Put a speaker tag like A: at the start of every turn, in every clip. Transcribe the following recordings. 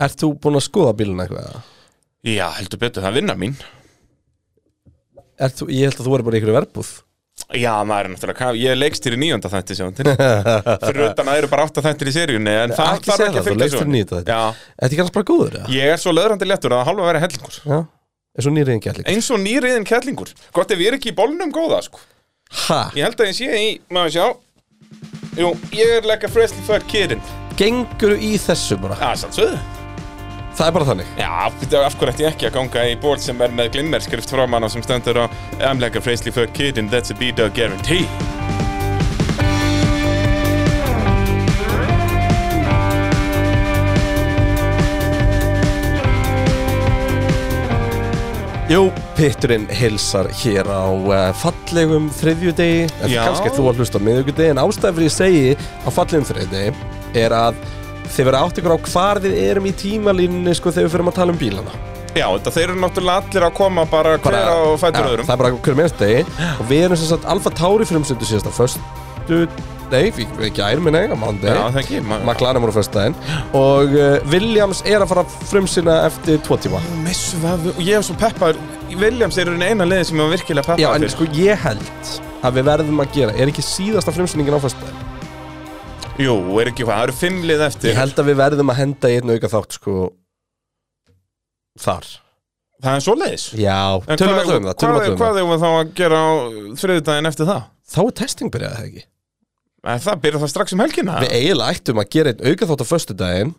A: Ert þú búin að skoða bílun eitthvað? eða?
B: Já, heldur betur, það er vinna mín
A: Ert þú, ég held að þú er bara í ykkur verbúð
B: Já, maður er náttúrulega, hvað- ég leikstýri nýjönda þætti sjóndin Fyrir utan að það eru bara átta þættir í seríunni En það
A: Ekki segja það, þú leikstýrir
B: sögunni.
A: níunda þætti.
B: Já,
A: Þetta er kannski bara góður, eða?
B: Ég er svo löðrandi léttur að það halva verið hellingur
A: Já, eins og nýriðin gætling
B: Eins og nýriðin kellingur Gott ef ég er ekki í bólnum góða sko
A: Ha,
B: Ég held að ég sé í, maður sjá Jú, ég er like a freshly fucked kid in
A: gengur í þessu bara
B: Það er sann svið
A: Það er bara þannig
B: Já, bíddu, af hverju ætti ég ekki að ganga í ból sem er með glimmerskrift frá manna sem stendur á I'm like a freshly fucked kid in that's a B-Dog guarantee
A: Jú, Pitturinn hilsar hér á uh, fallegum þriðjudegi En
B: Já.
A: kannski þú að hlusta á miðjugudegi En ástæðan fyrir ég segi á fallegum þriðjudegi Er að þið verða átt ykkur á hvar við erum í tímalínunni sko, Þegar við fyrir að tala um bílana
B: Já, þetta þeir eru náttúrulega allir að koma bara hver
A: Bara-
B: á fætur
A: Já,
B: öðrum
A: Það er bara hver minnst degi Og við erum sem sagt Alfa Tauri frumsöndu síðast á föstu Nei, við við ekki ærum minni á mándi
B: Já, það ekki, ma-
A: McLaren voru á föstudaginn Og uh, Williams er að fara að frumsýna eftir tvo tíma
B: Missu, það, ég hef svo peppaður Williams er eina leiðin sem ég var virkilega
A: Já,
B: peppaður
A: en
B: fyrir.
A: sko ég held að við verðum að gera Er ekki síðasta frumsýningin á föstudaginn?
B: Jú, er ekki hvað, það eru fimm lið eftir
A: sko- Ég held að við verðum að henda í einn auka þátt sko Þar
B: Það er svoleiðis
A: Já,
B: En
A: tölum alltaf
B: hvað-
A: um það, tölum
B: hvað-
A: alltaf um það
B: Hvað hefur þá að gera á þriðudaginn eftir það?
A: Þá er testing byrjaði það ekki
B: En það byrjar það strax um helgina
A: Við eiginlega ættum að gera einn auka þátt á föstudaginn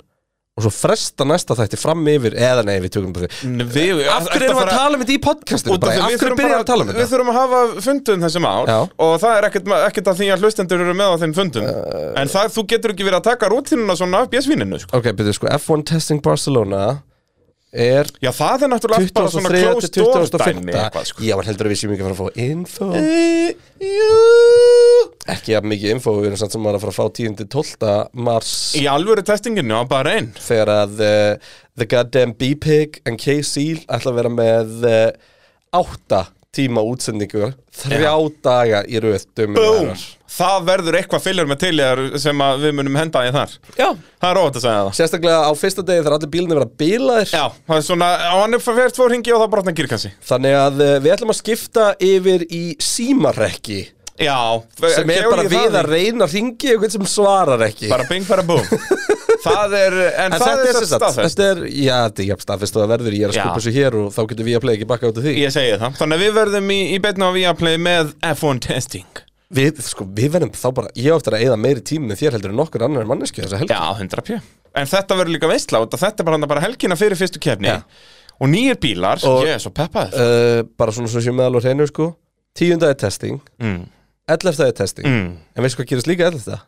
A: og svo fresta næsta þætti fram yfir eða nei, við tökum bara því
B: N- við
A: Af hverju erum við að tala um þetta í podcastinu?
B: Út af
A: Bara, af
B: því við
A: hverju
B: þurfum
A: byrjar
B: bara-
A: að tala um
B: Við
A: þetta?
B: þurfum að hafa fundum þessum ár
A: Já.
B: Og það er ekkert, ma- ekkert að því að hlustendur eru með á þeim fundum
A: Uh,
B: En það, þú getur ekki verið að taka rútinuna svona af bjössvininu sko.
A: Ok, byrju sko, F1 Testing Barcelona er
B: Já, það er náttúrulega allt bara svona
A: 23.
B: closed
A: til
B: door
A: 25.
B: dæmi eitthvað, sko.
A: Já, en heldur að við séum ekki að fara að fá info
B: Eh, jú.
A: Ekki að mikið info, við erum samt sem maður að fara að fá 10.12. mars
B: Í alvöru testinginu á bara einn
A: þegar að uh, The Goddamn B-Pig and K-Seal ætla að vera með uh, átta tíma útsendingu þrjá daga í röð
B: Búm,
A: dömum
B: það verður eitthvað fylgjur með tiljar sem að við munum henda í þar
A: Já,
B: Það er rót að segja það
A: sérstaklega á fyrsta degi þegar allir bílunni vera bílaðir
B: Já, það er svona, á hann er fyrir tvo ringi og þá brotna girkassi
A: Þannig að eh, við ætlum að skipta yfir í símarekki
B: Já,
A: sem er
B: keyrir
A: bara
B: ég
A: við
B: það
A: að reyna að ringi einhvern sem svarar ekki
B: Bara bing, bara búm Það er, en,
A: En
B: það
A: þetta
B: er
A: er
B: þess
A: sérstætt,
B: að staðfest
A: þetta er, já, þetta er jafn staðfest og það verður, ég er að
B: Já.
A: skupa þessu hér og þá getur við að playa ekki bakka út af því.
B: Ég segi það, þannig að við verðum í, í betna á Viaplay með F1 testing
A: Við, sko, við verðum þá bara, ég á eftir að eyða meiri tími en þér heldur en nokkur annar manneski þessa helgi.
B: Já, 100 pjö En þetta verður líka veistla og þetta er bara, bara helgina fyrir fyrstu kefni
A: Já.
B: Og nýjir bílar,
A: Og-
B: ég er svo peppaður
A: Uh, bara svona sem sé meðal og hreinu, sko. Tíunda er testing,
B: mm.
A: ellefta er testing.
B: Mm.
A: En veistu hvað gerist líka ellefta?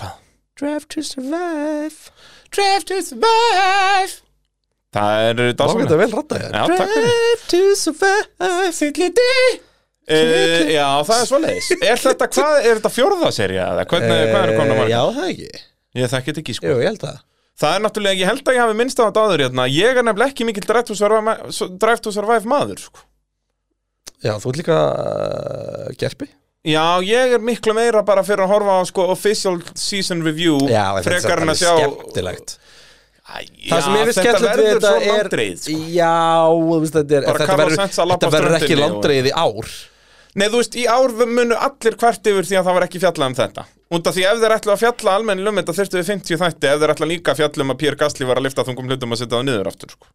B: Hvað?
A: Drive to survive.
B: Drive to survive Það
A: Þá
B: er
A: getur
B: dásamlegt.
A: það vel ratta þér.
B: Já, takk fyrir.
A: Drive to survive. Sýtliti.
B: Uh, já, það er svoleiðis Er þetta, hvað, er þetta fjórða serja eða? Hvernig, hvað er konar
A: Eh,
B: maður?
A: Já, það ekki
B: Ég þekki þetta ekki, sko
A: Jú, ég held það
B: Það er náttúrulega, ég held að ég hafi minnst á þetta áður hérna. Ég er nefnilega ekki mikill Drive to Survive, ma- s- drive to survive maður sko.
A: Já, þú ert líka uh, gerpi
B: Já, ég er miklu meira bara fyrir að horfa á sko, official season review frekar en að sjá
A: skemmtilegt
B: Æ,
A: Það sem ég
B: já,
A: við skemmtilegt við
B: verður
A: þetta
B: svo
A: er
B: landreið sko.
A: Já, þú veist, þetta er
B: Bara
A: Þetta
B: Carlos
A: verður,
B: Sainz að labba
A: þetta
B: á
A: verður ekki
B: ströndinni og-
A: landreið í ár
B: Nei, þú veist, í ár munu allir hvert yfir því að það var ekki fjallað um þetta Út af því ef þeir ætlu að fjalla almenn um þetta þurftu við 50 þætti ef þeir ætlu líka að fjalla um að Pér Gasli var að lifta þungum hlutum að setja það niður aftur sko.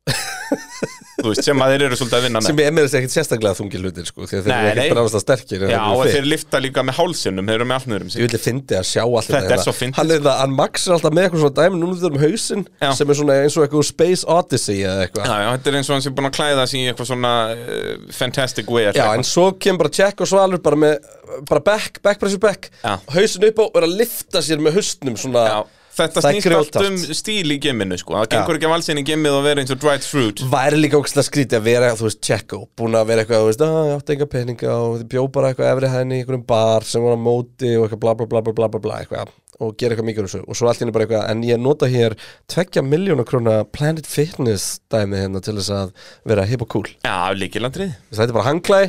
B: Þú veist, sem að þeir eru svolítið að vinna með
A: Sem er með þessi ekkit sérstaklega þungi hlutir sko, Þegar þeir
B: Nei,
A: eru
B: nei.
A: ekkit bráðast að sterkir en
B: Já,
A: þeir eru
B: og
A: þykir.
B: þeir lifta líka með hálsinum, þeir eru með allt niður um sig
A: Ég vilja fyndi að sjá allt
B: Þetta er
A: hérna.
B: svo fyndið, sko.
A: Hann er það, hann maksir alltaf með eitthvað svona dæmi Núna þetta um hausinn
B: Já.
A: Sem er svona eins og eitthvað úr Space Odyssey eða eitthvað
B: Já, já, þetta er eins og hann sem er búin að klæða sig í eitthvað svona uh, fantastic wear
A: Já, en svo kemur bara Jack og Svalur bara með, bara back, back pressur back
B: Já.
A: hausin upp á og er að lifta sér með hausnum svona
B: Já, Þetta
A: Það er
B: snýst allt um
A: grjótart.
B: stíl í gemminu sko Það gengur ekki að valsinn í gemmið og vera eins og dried fruit
A: væri líka ógæslega skrítið að vera, þú veist, Jacko búin að vera eitthvað, þú veist, að ég átti enga peninga og þið bjó bara eitthvað efri hæðinni í einhverjum bar sem var á móti og eitthvað bla bla bla bla bla bla bla eitthvað og gera eitthvað mikið úr þessu og svo allt hérna bara eitthvað en ég nota hér tveggja miljónu króna Planet Fitness dæmi hérna til þess að vera hip og cool
B: Já, líkilandrið
A: þess að þetta er bara hanglæ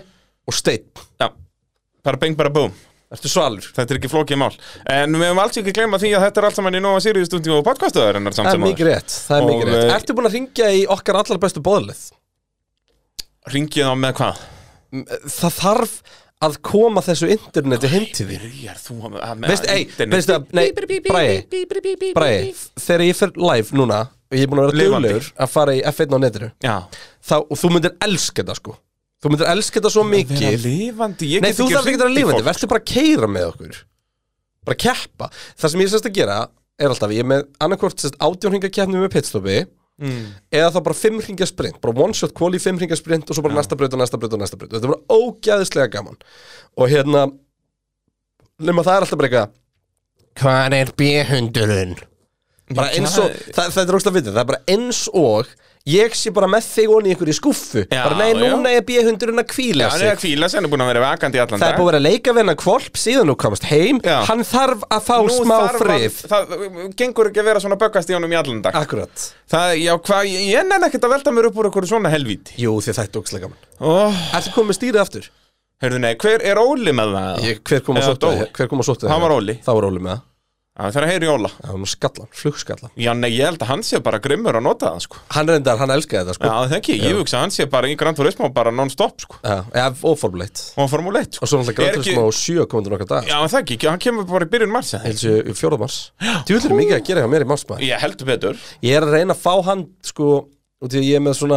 A: og steip
B: Já, bara beng bara búm
A: Ertu svalur?
B: Þetta er ekki flókið mál En við höfum alls ekki gleyma því að þetta er allt saman í Nóa Sirius stundingu og podcastuðarinnar samt
A: Það er
B: sem
A: mikið rétt, það er
B: Og,
A: mikið rétt
B: eh,
A: Ertu búin að ringja í okkar allar bestu bóðlið?
B: Ringið á með hvað?
A: Það þarf að koma þessu interneti heim til því
B: Byrjar þú að að- með
A: Veist, ei, veistu að, nei, Bræði
C: Bræði
A: Bræði, þegar ég fer live núna og ég er búin að vera
B: Lifandi.
A: döglegur að fara í F1 á netinu
B: Já
A: þá, og þú myndir elska þetta sko þú myndir elska þetta svo
B: Vera
A: mikið
B: lifandi ég
A: Nei,
B: get
A: þú þarf ekki að vera
B: hringt í
A: lífandi,
B: fólk.
A: verður bara að keira með okkur Bara að keppa Það sem ég sérst að gera er alltaf Ég er með annarkvort sérst átjónhringa keppni með pitstopi
B: Mm.
A: Eða þá bara fimm hringa sprint Bara one shot quali, fimm hringa sprint Og svo bara næsta braut og næsta braut og næsta braut Þetta er bara ógæðislega gaman Og hérna Nefna það er alltaf bara eitthvað Hvað er B-hundurinn?
B: Mm,
A: Bara eins og, það, það er ógst að vita Það er bara eins og Ég sé bara með þig onni í einhverju skúffu
B: Já,
A: Bara nei,
B: já.
A: núna er B-hundurinn að
B: Já,
A: hvíla
B: hann
A: sig
B: er að kvíla sem hann er búin að vera vakandi í allan
A: Það er búið að vera að leika við hennar kvolp síðan þú komst heim
B: Já.
A: Hann þarf að fá
B: Nú
A: smá
B: þarf að-
A: frið
B: Það gengur ekki að vera svona böggast í honum í allan dag
A: Akkurat
B: Það, já, hvað, ég- ég nenn ekkert að velta mér upp úr einhverju svona helvíti
A: Jú, því þetta er ógstlega gaman
B: oh.
A: Ertu komið stýrið aftur?
B: Hörðu, nei, hver er Óli með það?
A: Ég, hver kom og
B: Eða
A: sótti
B: dó.
A: það? Hver kom og sótti
B: Það var Óli
A: Það var Óli með það
B: Já, Það er að heyri Óla
A: Það var með skallan, flugskallan
B: Já, nei, ég held að hann sé bara grimmur að nota það, sko
A: Hann reyndar, hann elskaði þetta
B: Já,
A: sko
B: það ekki, ég hugsa að hann sé bara í Gran Turismo bara non-stop, sko
A: Já, ja, óformleitt
B: Og Formule 1, sko
A: Og svo náttúrulega
B: Er
A: grættur
B: ekki-
A: smá sjö komandi nokkar dag
B: Já, en það ekki, hann kemur bara í byrjun mars eða?
A: Helsi, fjóra mars Djúvillir mikið að gera hjá mér í mars maður
B: Ég heldur betur
A: Ég er að reyna að fá hann sko Út í að ég er með svona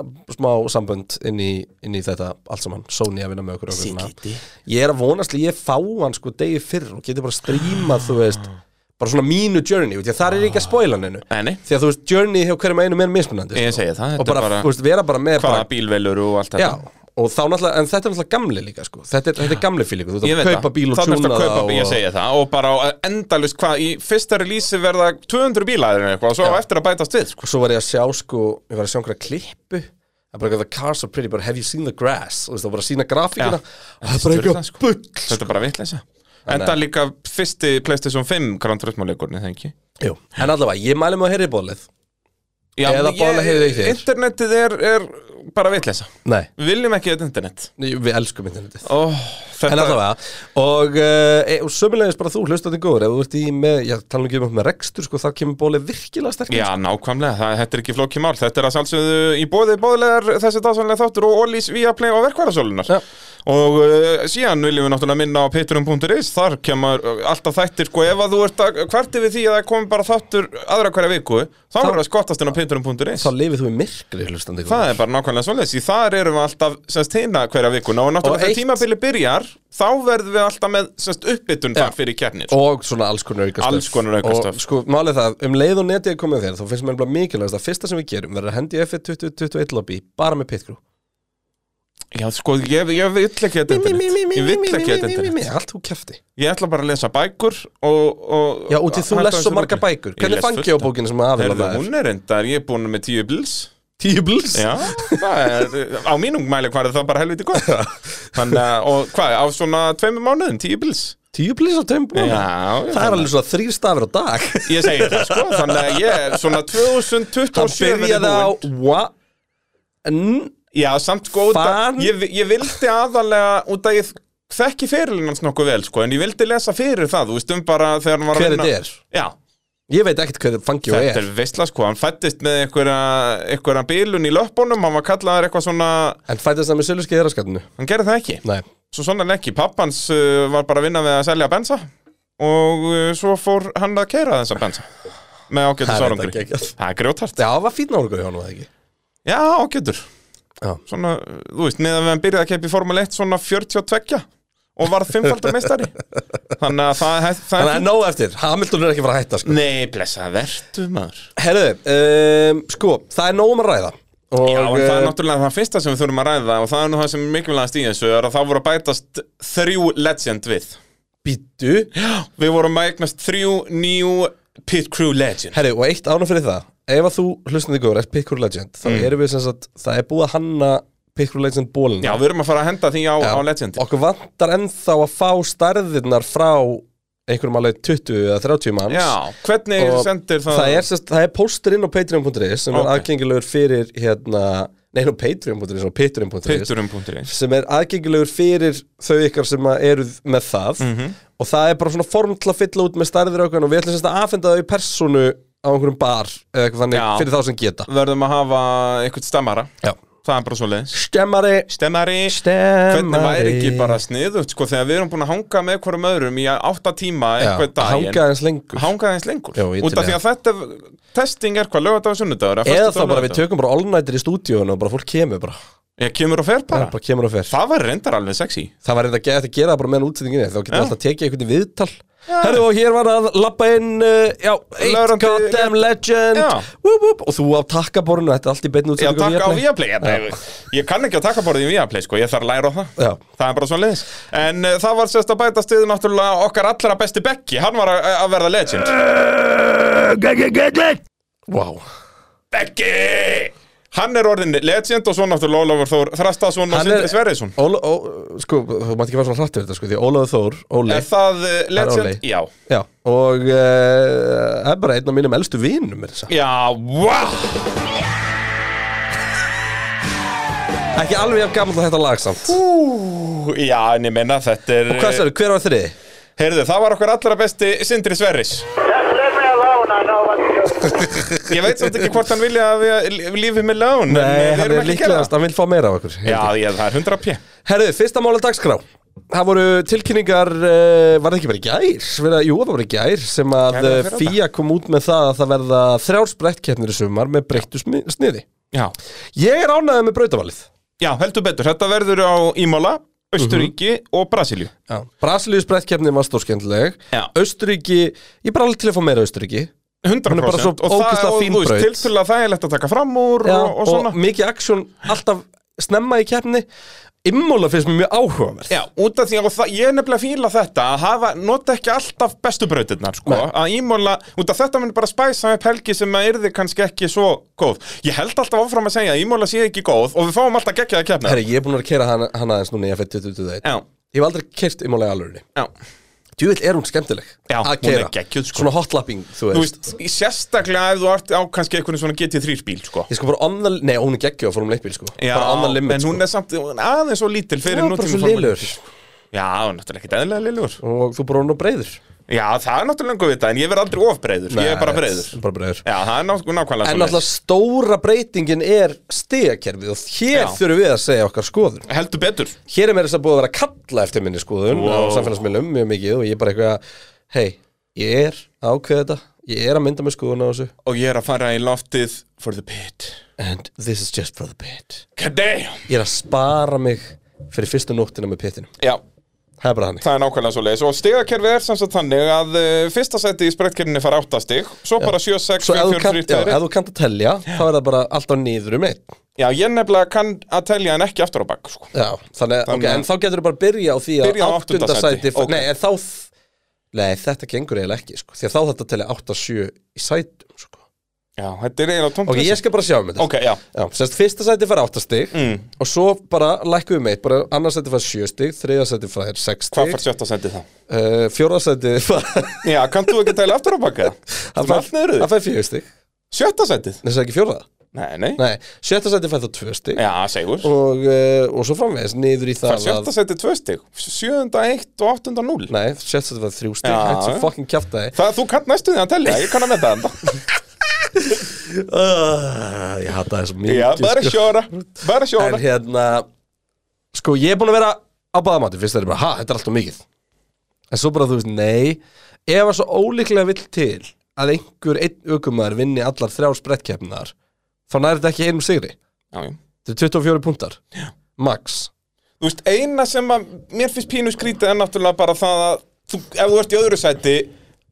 A: uh, smá sambönd inn í, inn í þetta allt saman Sony að vinna með okkur og okkur svona. Ég er að vonast að ég fá hann sko degi fyrr og geti bara streamað, þú veist bara svona mínu journey, út, í að þar er ég ekki að spoila hann einu
B: Ah. Nei, nei,
A: því að þú veist, journey hjá hverjum einum er mismunandi
B: ég
A: sko.
B: segi það
A: og
B: Þetta
A: bara,
B: er bara
A: þú veist, vera bara með
B: hvaða
A: bara,
B: bílvelur og allt
A: já,
B: þetta
A: og þá náttúrulega, en þetta er náttúrulega gamli líka sko. þetta, er, þetta er gamli fílingu, þú
B: Ég
A: veist að
B: veit það,
A: kaupa bíl og
B: þannig
A: tjúna
B: að
A: það
B: kaupa bíl, ég
A: og-
B: segi það og bara endalust hvað, í fyrsta release verða 200 bílaðir eitthvað og svo á eftir að bætast við sko.
A: og svo var ég að sjá, sko, ég var að sjá einhverja klippu það er bara eitthvað, the cars are pretty, but have you seen the grass og þú veist, það var bara að sína grafíkina
B: Já.
A: og það er bara
B: Sturlað,
A: eitthvað
B: sko.
A: bull
B: Þetta er bara vitleisa Enda líka fyrsti PlayStation 5 Gran Turismo leikurinn, það ekki
A: Jú, en allavega, ég mæli mig að heyri bóðlið
B: Já,
A: Eða
B: ég-
A: boðlega heyrið í þér.
B: Internetið er, er bara vitleisa
A: nei,
B: Við viljum ekki þetta internet
A: við elskum internetið
B: Ó,
A: En
B: þetta,
A: allavega, og, uh, e- og sömulegis bara þú hlustandi góður, ef þú ert í með, ég tala nú ekki um með rekstur, sko, þá kemur bólið virkilega sterkir.
B: Já, nákvæmlega, það, þetta er ekki flókið mál Þetta er að sjálfsögðu í bóði bóðlegar þessi dásanlega þáttur og Ólís Viaplay og verkvarasólunar
A: Já.
B: Og uh, síðan viljum við náttúrulega minna á pitturum.is Þar kemur uh, alltaf þættir sko Ef að þú ert að kvarti við því að það komi bara þáttur aðra hverja viku Þá verður það skottast inn á pitturum.is
A: Þá lifið þú í myrkri hlustandi góður.
B: Það er bara nákvæmlega svoleiðis, í þar erum við alltaf semst hinna hverja vikuna og
A: Og
B: náttúrulega þegar
A: eitt-
B: tímabili byrjar þá verðum við alltaf með semst uppbytun þar
A: Já.
B: fyrir kjarnir.
A: Og svona alls konar aukastöf.
B: Alls konar aukastöf.
A: Og sko, málið það, um leið og netið er komið þér, þá finnst mér bara mikilvægast að fyrsta sem við gerum verður að hendi F1 2021 lobby, bara með pitgrú.
B: Já, sko, ég, ég vill ekki þetta internet. Ég vill ekki þetta internet.
A: Allt þú kæfti.
B: Ég ætla bara að lesa bækur og... og
A: Já, út í þú
B: hætta
A: les svo
B: þessu
A: marga
B: rugli.
A: bækur.
B: Ég
A: Hvernig
B: les
A: fangi
B: fullt
A: á
B: af-
A: bókinu sem að
B: Heyrðu,
A: aðeins það er?
B: hún er reyndar, ég er búin með tíu bils.
A: Tíbls.
B: Já, það er, á mínum mæli hvað er það bara helviti gott. Þannig að, og hvað, á svona tveimur mánuðum, tíu bils.
A: Tíbls á
B: Já,
A: tömbunum.
B: já,
A: Það er alveg svona þrýr stafir á dag.
B: Ég segi það sko, þannig að ég er svona 2027
A: Hann byrjaði á wa, n,
B: Já, samt góð
A: Fan.
B: ég, ég vildi aðalega út að ég þekki fyrirlinn hans nokkuð vel sko, en ég vildi lesa fyrir það, þú veist um bara þegar hann var
A: Hver þetta er?
B: Já,
A: Ég veit ekkert hver Fangio
B: þetta
A: er
B: er veistla sko, hann fættist með einhverja, einhverja bílun í löppunum, hann var kallaður eitthvað svona,
A: En fætast það með söluski eðraskatinu
B: hann gerði það ekki
A: Nei,
B: Svo svona ekki, pappans uh, var bara að vinna við að selja bensa og uh, svo fór hann að keira þessa bensa með
A: það
B: ágættu
A: er þetta
B: sárangri
A: ekki ekki
B: Það er grjótart
A: Já, var fínn árgur hjá hann var það ekki
B: Já, ágættur
A: Já.
B: Svona, þú veist, meðan við hann byrjaði að keppi Formule 1 svona 42 og varð fimmfaldar meistari Þannig að það, það, það
A: Þannig að nóg eftir, Hamilton er ekki fara að hætta sko.
B: Nei, blessa, vertu maður
A: Herðu, um, sko, það er nóg um að ræða og,
B: Já, en það er
A: eh,
B: náttúrulega það fyrsta sem við þurfum að ræða og það er nú það sem er mikilvægast í þessu er að það voru að bætast þrjú legend við
A: Bíddu.
B: Við vorum að eignast þrjú nýju pit crew legend
A: Herðu, og eitt ánum fyrir það Ef að þú hlustandi góður er Pickur Legend þá
B: Mm.
A: erum við sem sagt, það er búið að hanna Pickur Legend bólina
B: Já, við erum að fara að henda því á,
A: Já.
B: á legend
A: Okkur vantar ennþá að fá stærðirnar frá einhverjum alveg 20 eða 30 manns
B: Já, hvernig
A: Og
B: sendir það
A: það er, sérst, það er póstur inn á patreon.is sem
B: Ok.
A: er aðgengilegur fyrir hérna Nei, nú Patreon.is og Patreon.is
B: Pitturum.is
A: sem er aðgengilegur fyrir þau ykkar sem að eru með það
B: Mhm.
A: og það er bara svona form til að fylla út með stærðir ákveðan og við ætlum semst að afhenda þau í persónu á einhverjum bar eða eitthvað þannig
B: Já.
A: fyrir þá sem geta
B: Verðum að hafa eitthvað stemmara
A: Já.
B: Það er bara svo leiðis
A: Stemmari
B: Stemmari
A: Stemmari
B: Hvernig væri ekki bara sniðut sko Þegar við erum búin að hanga með hverjum öðrum í átta tíma eitthvað daginn
A: Hanga eins lengur
B: Hanga eins lengur
A: Jó, ég
B: Út
A: til
B: af því að þetta Testing er hvað lögadagur sunnudagur
A: Eða þá bara við tökum bara all nighter í stúdíun og bara fólk kemur bara
B: Ég kemur og fer
A: Það
B: bara
A: bara kemur og fer
B: Það var reyndar alveg sexy
A: Það var eitthvað að gera það bara meðan útsendinginni þá getum við
B: Já.
A: alltaf tekið einhvern í viðtal Herðu og hér var að labba inn uh, Já, eight
B: Lögrandi-
A: goddamn legend
B: Já.
A: whoop, whoop, Og þú á takkaborinu, þetta er allt í beinni
B: Ég
A: útsendingu
B: taka á
A: Viaplay.
B: Viaplay ég, bara- ég kann ekki að taka bara því Viaplay sko Ég þarf að læra á það
A: Já.
B: Það er bara svona leiðis En uh, það var sérst að bæta stiðu náttúrulega okkar allra besti Becky Hann var að, eh, að verða legend
A: Vá
B: Becky Hann er orðin legend og svo náttúrulega Ólafur Þór Þrastason og
A: Hann er-
B: Sindri Sverrisson
A: Óla, ó, Sko, þú mátt ekki vera svona hrættu við þetta sko Því Ólaður Þór, Óli
B: Er það uh, legend?
A: Óli.
B: Já
A: Já, og eh, það er bara einn af mínum elstu vinum er þessa.
B: Já, wow
A: Ekki alveg af gamla þetta lag samt
B: Ú, Já, en ég menna þetta er eh,
A: Hvað sér, hver var þriði?
B: Heyrðu, það var okkar allra besti Sindri Sverris
C: Just leave me alone, I know what to do.
B: Ég veit samt ekki hvort hann vilja að við eh, lífið með lán
A: Nei, hann er líklegast, hann vil fá meira af okkur
B: Já, ég, það er 100 p
A: Herðu, fyrsta mála dagskrá Það voru tilkynningar, uh, var það ekki bara í gær? Verða, jú, það voru í gær sem að
B: Kæra
A: eh,
B: fyrir
A: FIA kom út með það að það verða þrjár sprettkeppnir í sumar með breyttu smi- sniði
B: Já.
A: Ég er ánæðið með brautavalið
B: Já, heldur betur, þetta verður á Ímola, Östuríki
A: Mhm.
B: og Brasilíu
A: Brasilíu sprettkeppni var stórskendleg
B: Já.
A: Austuríki, ég er bara alveg til að fá meira Austuríki
B: 100%
A: Hún er bara svo
B: og það
A: ógeðslega
B: og,
A: fín
B: þú veist,
A: braut.
B: tiltölulega þægilegt að taka fram úr
A: Já,
B: og, og svona
A: mikið aksjón alltaf snemma í keppni Immóla finnst mér mjög áhugaverð
B: Já, út af því að og það, ég er nefnilega að fíla þetta að hafa, nota ekki alltaf bestu brautirnar sko,
A: Nei.
B: að ímóla, út af þetta mun bara spæsa með pelgi sem að yrði kannski ekki svo góð. Ég held alltaf áfram að segja að ímóla sé ekki góð og við fáum alltaf geggjaða kefna.
A: Herri, ég er búin að kera hana, hana aðeins núna í F1.21
B: Já,
A: Ég hef aldrei kert Immóla í alvörinni
B: já.
A: Djúvill er hún skemmtileg
B: Já,
A: að
B: hún
A: keyra.
B: er geggjuð, sko.
A: Svona hotlapping, þú
B: Þú
A: veist,
B: veist, sérstaklega ef þú ert á kannski einhvern svona GT3 bíl, sko.
A: Ég sko bara on the, nei hún er geggjuð á fórum leikbíl sko
B: Já,
A: Bara on the limit
B: en
A: sko
B: hún er samt hún er aðeins svo lítil fyrir
A: Já, bara
B: nútíma
A: svo
B: formúlu.
A: liður
B: Já, hún er náttúrulega ekkert eðlilega liðlur.
A: Og þú bara hún og breyður
B: Já, það er náttúrulega lengur vita, en ég verð aldrei ofbreyður, ég er bara breyður.
A: Bara breiður
B: Já, það er ná-
A: En
B: nákvæmlega svoleiðis.
A: náttúrulega stóra breytingin er stegakerfið og hér
B: Já.
A: þurfum við að segja okkar skoðun
B: Heldur betur.
A: Hér er mér þess að búið að vera að kalla eftir minni skoðun
B: Wow.
A: á samfélagsmiðlum mjög mikið og ég er bara eitthvað Hei, ég er að ákveða þetta Ég er að mynda með skoðun á þessu
B: og ég er að fara í loftið for the pit
A: And this is just for the pit
B: God damn
A: Ég er að spara mig fyrir fyrstu nóttina með pitinum
B: Já,
A: Það er bara hannig
B: það er nákvæmlega svo leiðis og stigakerfi er sem sagt þannig að uh, fyrsta seti í sprettkerfinni fara áttastig svo bara 7, 6,
A: Svo ef
B: 5,
A: þú
B: 4,
A: kannt,
B: 3,
A: já,
B: 2
A: ef þú kannt að telja, þá er það bara alltaf niður um einn.
B: Já, ég nefnilega kann að telja en ekki aftur á bakk sko.
A: Já, þannig, þannig
B: Þannig að-
A: en þá getur þú bara að byrja á því að
B: Byrja á áttunda
A: áttunda
B: sæti,
A: sæti,
B: ok.
A: Nei, en þá þ- Nei, þetta gengur eiginlega ekki, sko Því að þá þetta telja 8-7 í sætum, sko
B: Já, þetta er eiginlega tómt
A: Ok, ég skal bara sjá um þetta
B: Ok, já,
A: Já, semst fyrsta sæti fær 8 stig
B: Mm.
A: Og svo bara lækkum við meitt Bara annars sæti fær 7 stig, þriða sæti fær 6
B: hvað
A: stig
B: fær sjötta seti þá?
A: uh, Fjóra sæti fær
B: Já, kannt þú ekki telja aftur á bakk eða?
A: Það
B: Það er allt niður
A: fær-
B: í
A: það
B: þig.
A: fær 4 stig
B: Sjötta setið?
A: Nei, það ekki fjóra
B: Nei, nei
A: Nei, sjötta sæti fær þá 2 stig
B: Já, segur
A: og, uh, og svo framvegis niður í það
B: Fær sjötta setið tvö stig Sjöunda, eitt og áttunda, núl
A: Nei, sjötta sæti var þrjú stig
B: Já.
A: Hætt svo fucking kjafta þig
B: Það, þú kann næstu því að telja, ég kann að metta þetta
A: uh, Ég hata það svo mikið
B: Já, bara
A: sko.
B: sjóra, bara
A: En
B: sjóra
A: hérna Sko, ég er búin að vera á baðamáti Fyrst er ég bara, ha, þetta er alltaf mikið En svo bara, þú veist, nei Ef að svo ólíklega vill til Að einhver einn aukumar vinni allar þrjár sprettkeppnar Þá nær þetta ekki einum sigri
B: Já, já
A: Þetta er 24 punktar Já. Max
B: Þú veist, eina sem að mér finnst pínu skrítið er náttúrulega bara það að þú, ef þú ert í öðru sæti,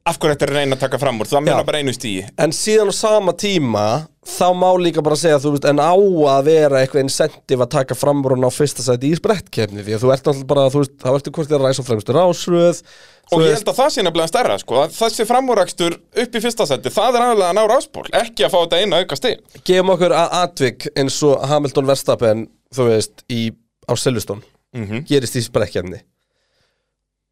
B: af hverju þetta er að reyna að taka fram úr, það meina
A: Já.
B: bara einu stíi.
A: En síðan á sama tíma þá má líka bara segja, þú veist, en á að vera eitthvað incentive að taka framrún á fyrsta sæti í sprettkefni því að þú ert náttúrulega bara, þú veist, þá ertu hvort þér að ræsa á fremstu rásröð
B: Og ég held að það sé nefnilega stærra, sko, að þessi framúrækstur upp í fyrsta sæti, það er aðalega að ná ráspól, ekki að fá þetta eina auka stig.
A: gefum okkur að atvik eins og Hamilton Verstappen, þú veist, í, á Silveston
B: Mhm.
A: gerist í sprekjefni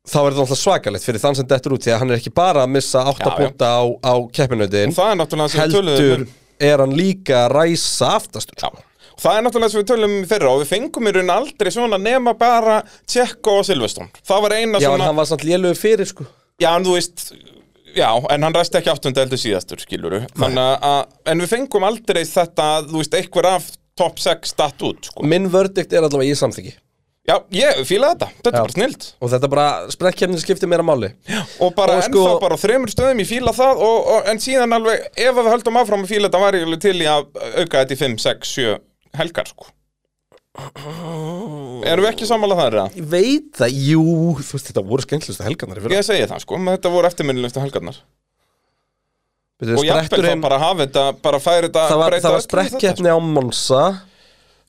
A: þá er það náttúrulega svakalegt fyrir þann sem dettur út því að hann er ekki bara að missa 8
B: Já, já.
A: búta á, á keppinautin
B: Það er náttúrulega sem við töluðum
A: heldur
B: um.
A: er hann líka að ræsa aftastur sko.
B: Já. Það er náttúrulega sem við tölum um í fyrra og við fengum í raun aldrei svona nema bara Tjekko og Silveston. Það var eina
A: Já, en
B: svona,
A: hann var samt lélugur fyrir sko
B: já en þú veist, já, en hann ræst ekki áttunda eldur síðastur, skiluru. Þannig að, en við fengum aldrei þetta, þú veist, einhver af top 6 datt út, sko.
A: Minn verdict er allavega ég samþyggi
B: Já, ég fíla þetta, þetta
A: Já.
B: er bara snilt.
A: Og þetta bara, sprekkjefnin skiptir meira máli
B: Og bara
A: Og sko-
B: ennþá bara á þremur stöðum, ég fíla það og, og, en síðan alveg, ef að við höldum áfram að fíla þetta var ég alveg til í að auka þetta í 5, 6, 7 helgar, sko. Erum við ekki sammála þar, eða?
A: Ég veit það, jú, þú veist þetta voru skemmtlustu helgarnar í fyrra
B: Ég segi það sko, menn þetta voru eftirminnilegustu helgarnar
A: Byrju,
B: Og jafnvel þá
A: spretturinn-
B: bara hafa þetta, bara færi þetta
A: Það var,
B: breyta
A: það var
B: öllu í þetta,
A: sprekkjefni á Monza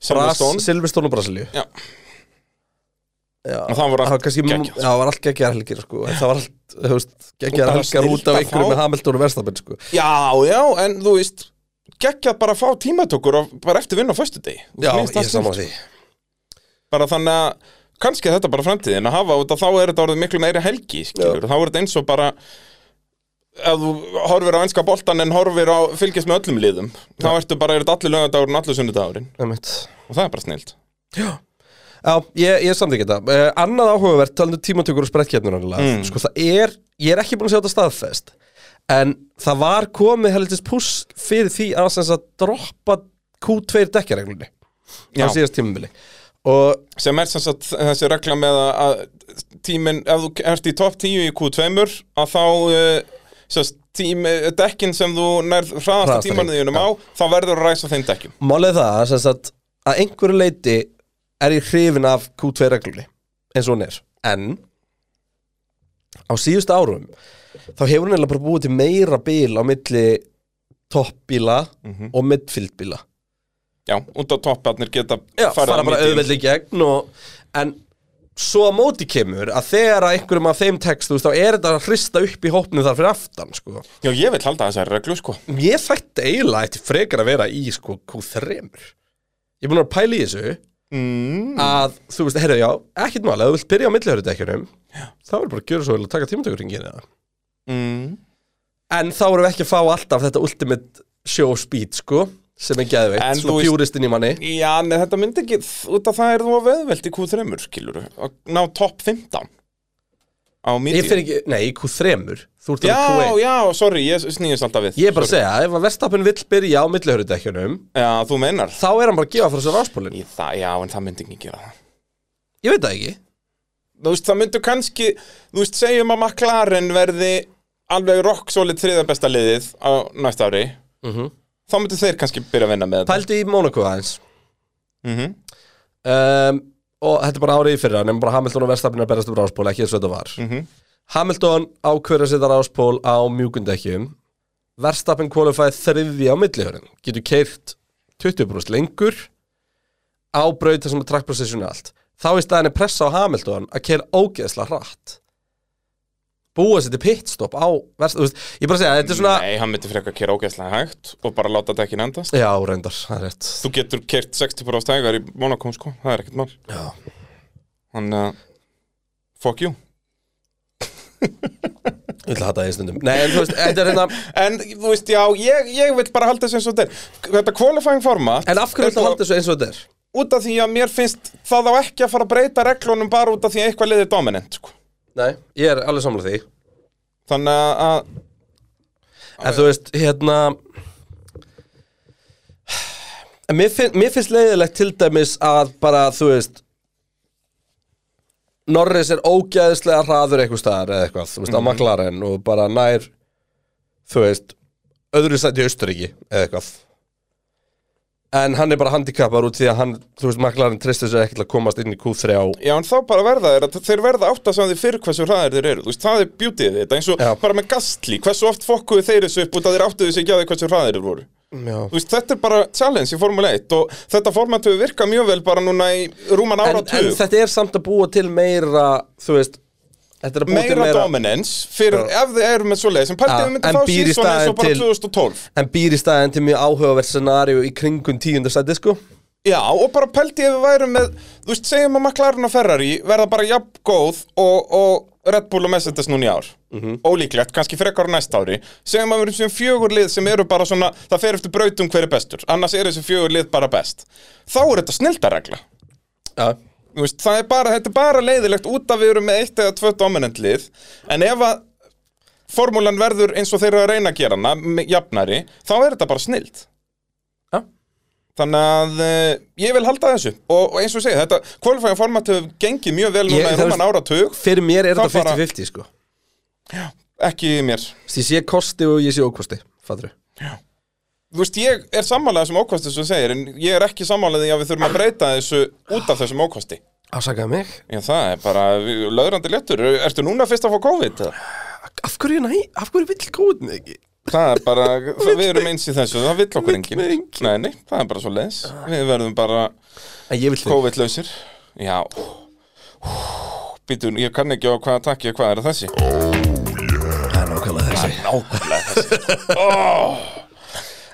B: sko. Silverstone.
A: Bras- Silverstone og Brasilíu
B: Já.
A: Já,
B: Og það voru allt
A: var kannski-
B: geggjað, sko.
A: Já, það var allt geggjar helgir sko En Það var allt, þú veist, geggjar
B: Og bara
A: helgar út
B: snillt
A: af
B: að
A: einhverju
B: fá-
A: með Hamilton og Verstappen sko
B: Já, já, en þú veist geggjað bara að fá tímatökur og bara eftir vinna á föstudegi Þú
A: Já,
B: veist,
A: ég
B: mér
A: er
B: finnst það
A: saman
B: snilt.
A: því
B: Bara þannig að kannski er þetta bara framtíðin að hafa út að þá er þetta orðið miklu meiri helgi skilur, þá er þetta eins og bara ef þú horfir á einska boltan en horfir á fylgjast með öllum liðum þá ertu bara, er þetta allir lögadagurinn, allir sunnudagurinn
A: Einmitt.
B: og það er bara snilt
A: Já, ég, ég samþykja þetta uh, Annað áhugavert, talandi um tímatökur og sprekkjefnir mm. Sko það er, ég er ekki búin að sjá þetta staðfest En það var komið helgist puss fyrir því að, sem sagt, droppa Q2 dekkjareglunni á
B: Já.
A: síðast tímabili Og
B: sem er sem sagt þessi regla með að- að tíminn, ef þú ert í topp 10 í Q2 að þá uh, sérst, tími, dekkin sem þú nærð hraðasta
A: Hraðasta
B: tímanu
A: hring,
B: þínum á þá verður að ræsa þeim dekkjum
A: Málið er það sem sagt, að einhverju leiti er ég hrifin af Q2 reglunni eins og hún er en á síðustu árum þá hefur hún eiginlega bara búið til meira bíl á milli toppbíla og midfieldbíla
B: Já, út á topparnir geta
A: Já,
B: farið
A: fara
B: á
A: bara
B: milli.
A: auðveld í gegn og, en svo að móti kemur að þegar að einhverjum af þeim tekst þú veist, þá er þetta að hrista upp í hópnum þar fyrir aftan sko.
B: Já, ég vil halda þessari reglu sko
A: Ég þætti eiginlega eftir frekar að vera í sko, Q3 Ég er búin að vera að pæla í þessu
B: mm.
A: að þú veist, heyrðu, já, ekkert mála ef þú vilt byrja á millihörðudekkjunum þá verður bara að gjöra svo vel að taka tímatökuringin eða
B: Mm.
A: en þá erum við ekki að fá alltaf þetta ultimate show speed, sko sem er
B: En
A: geðveikt,
B: þú
A: svona
B: veist-
A: pjúristinn í manni
B: Já, nei, þetta myndi ekki út að það er þú að veðveld í Q3 skilur að ná topp 15 á
A: ég
B: mítíu
A: fer ekki, nei, í Q3 þú ert
B: Já,
A: að Q1
B: já, sorry, ég snýðist alltaf við
A: ég er bara að
B: Sorry.
A: segja, ef að Verstappen vill byrja á millihörðudekkjunum
B: Já, þú meinar
A: þá er hann bara að gefa frá sér ráspólinn
B: Í það, já, en það myndi ekki gera það
A: ég veit það ekki,
B: Þú veist, það myndu kannski Þú veist, segjum að McLaren verði alveg rock solid þriða besta liðið á næsta ári
A: Mhm.
B: Þá myndu þeir kannski byrja að vinna með þetta
A: pældu í Monaco aðeins
B: Mhm.
A: um, og þetta er bara árið í fyrra nema bara Hamilton og Verstappen er að berast um ráspól ekki eins og þetta var
B: Mhm.
A: Hamilton ákveður að setja ráspól á mjúkundekkjum Verstappen kvalifæði þriði á millihörin getur keirt 20% lengur á braut þar sem að track position er allt þá í staðinni pressa á Hamilton að keira ógeðslega hratt búa sér til pitstop á Verstappen, þú veist, ég er bara að segja, þetta er svona
B: Nei, hann myndi frekar kera ógeðslega hægt og bara láta þetta ekki endast
A: já, reyndar, það er rétt
B: Þú getur kert 60% hægar í Monaco, sko, það er ekkert mál
A: Já.
B: Þannig að, fuck you
A: ég ætla að hata það í stundum nei, en þú veist, þetta er hérna
B: En, þú veist, já, ég, ég vil bara halda þessu eins og þetta er. Þetta qualifying format
A: en af hverju
B: er
A: ætla að
B: bara-
A: halda þessu eins og þetta er
B: út af því að mér finnst það á ekki að fara að breyta reglunum bara út af því að eitthvað liðið dominant sko.
A: nei, ég er alveg samlega því
B: þannig að- að
A: En þú veist, hérna En Mér, finn, mér finnst leiðilegt til dæmis að bara, þú veist Norris er ógæðislega hraður eitthvað staðar eða eitthvað, þú veist, á McLaren og bara nær, þú veist öðru sæti í Austuríki eða eitthvað En hann er bara handikappar út því að hann, þú veist, McLaren tristur sér ekki til að komast inn í Q3 á
B: já en þá bara verða þeir að þeir verða átt að sem þeir fyrir hversu hraðir þeir eru þú veist, það er beautyið þetta eins og
A: Já.
B: bara með gastli hversu oft fokkuðu þeir þessu upp út að þeir áttuðu sig ekki að þeir hversu hraðir þeir voru
A: Já.
B: þú veist, þetta er bara challenge í Formule 1 og þetta format hefur virkað mjög vel bara núna í rúman
A: En,
B: ára
A: en þetta er samt að búa til meira, þú veist Þetta er að búa til
B: meira
A: meira
B: dominance fyrir
A: Já.
B: ef þið eru með svo leiðis en pæltið
A: Já,
B: við myndum
A: en
B: þá
A: býr í
B: síðan eins og
A: staðinn
B: bara
A: til-
B: 2012
A: En býr í staðin til mjög áhugavert scenaríu í kringum tíundar sæti sko
B: Já, og bara pældi ef við værum með, þú veist, segjum að McLaren og Ferrari verða bara jafn góð og, og Red Bull og Mercedes núna í ár. Ólíklegt, kannski frekar á næsta ári. Segjum að við erum sem fjögur lið sem eru bara svona, það fer eftir brautum hver er bestur, annars eru þessi fjögur lið bara best. Þá er þetta snildaregla.
A: Já,
B: Þú veist, það er bara, þetta er bara leiðilegt út að við erum með eitt eða tvö dominant lið, en ef að formúlan verður eins og þeir eru að reyna að gera hana, m- jafnari, þá er þetta bara snild.
A: já,
B: Þannig að uh, ég vil halda þessu og, og eins og segja, þetta qualifying format hefur gengið mjög vel núna
A: Ég-
B: í
A: það er-
B: rúman áratug,
A: fyrir mér er
B: Þá
A: þetta
B: bara-
A: 50-50 sko
B: ekki mér.
A: Því sé kosti og ég sé ókosti, fattur
B: Þú veist, ég er sammálaðið þessum ókosti sem þú segir, en ég er ekki sammálaðið að við þurfum að breyta þessu út af þessum ókosti.
A: Ásakaði mig
B: Já, það er bara við- löðrandi léttur. Ertu núna fyrst að fá COVID? eða?
A: Af hverju, næ, af hverju vill góðin ekki?
B: Það er bara, það, við erum eins í þessu, það vill okkur
A: Vill
B: enginn.
A: mig enginn.
B: Nei, nei, það er bara svo leins. Við verðum bara
A: En ég vill þig
B: COVID-lausir. Já. Býtu, ég kann ekki á hvaða takki og hvað er þessi.
A: Það er nákvæmlega þessi
B: nákvæmlega þessi sko. oh.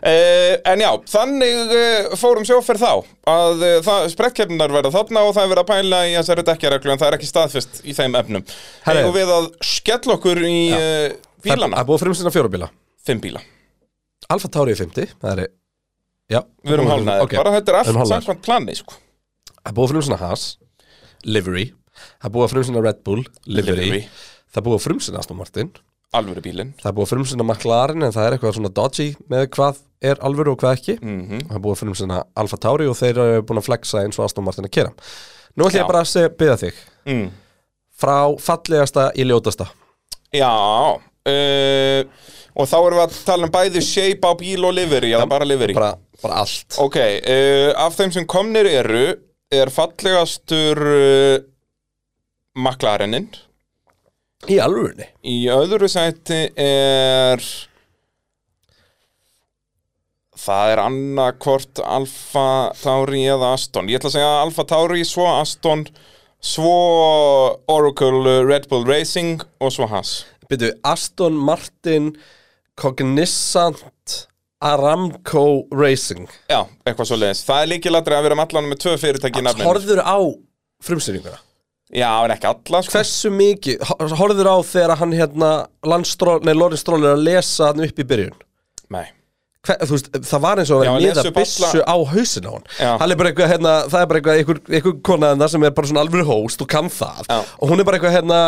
B: Eh, En já, þannig eh, fórum sjóferð þá að eh, það- sprettkeppnirnar verða þarna og það er verið að pæla í þessari dekkjareglu en það er ekki staðfest í þeim efnum
A: Herre.
B: Eigum við að skella okkur í já.
A: Það
B: bílana,
A: er búið að frumstina fjórabíla
B: fimm bíla
A: Alfa Tauri er 50, það er Já,
B: Við erum hálfnaðir,
A: Ok.
B: bara þetta er
A: Við erum
B: allt
A: hálfnaðir.
B: samkvæmt plani sko.
A: Það er búið að frumstina Haas Livery Það er búið að frumstina Red Bull Livery,
B: Livery.
A: Það er búið að frumstina Aston Martin
B: Alvöru bílinn
A: Það er búið að frumstina McLaren En það er eitthvað svona dodgy Með hvað er alvöru og hvað ekki
B: mm
A: Það er búið að frumstina Alfa Tauri Og þeir eru búin að flexa eins og Aston Martin að kera Nú ætlum
B: Já.
A: ég bara að segja, byrja þig
B: mm.
A: Frá fallegasta í ljótasta
B: Já uh, Og þá erum við að tala um bæði shape á bíl og livery, eða bara livery
A: bara, bara allt
B: Ok, uh, af þeim sem komnir eru er fallegastur uh, McLarenin
A: Í alvörunni
B: í öðru sæti er það er annarkvort Alfa Tauri eða Aston ég ætla að segja Alfa Tauri, svo Aston svo Oracle uh, Red Bull Racing og svo Haas
A: Byrju, Aston Martin Cognizant Aramco Racing
B: Já, eitthvað svo leiðis. Það er líkilatri að við erum allan með tvö fyrirtæki í nafninu.
A: Horður á frumsýninguna
B: Já, en ekki alla, sko.
A: Hversu mikið, ho- horfðir á þegar hann hérna Landstról, nei Lorin Stról er að lesa hann upp í byrjun
B: Nei.
A: Hver, þú veist, það var eins og að
B: Já,
A: vera
B: hann
A: miða
B: les upp
A: byssu á hausin á hann
B: Já.
A: Hann er bara eitthvað, hérna, það er bara eitthvað einhver, einhver kona þarna sem er bara svona alveg hóst og kann það
B: Já.
A: og hún er bara eitthvað hérna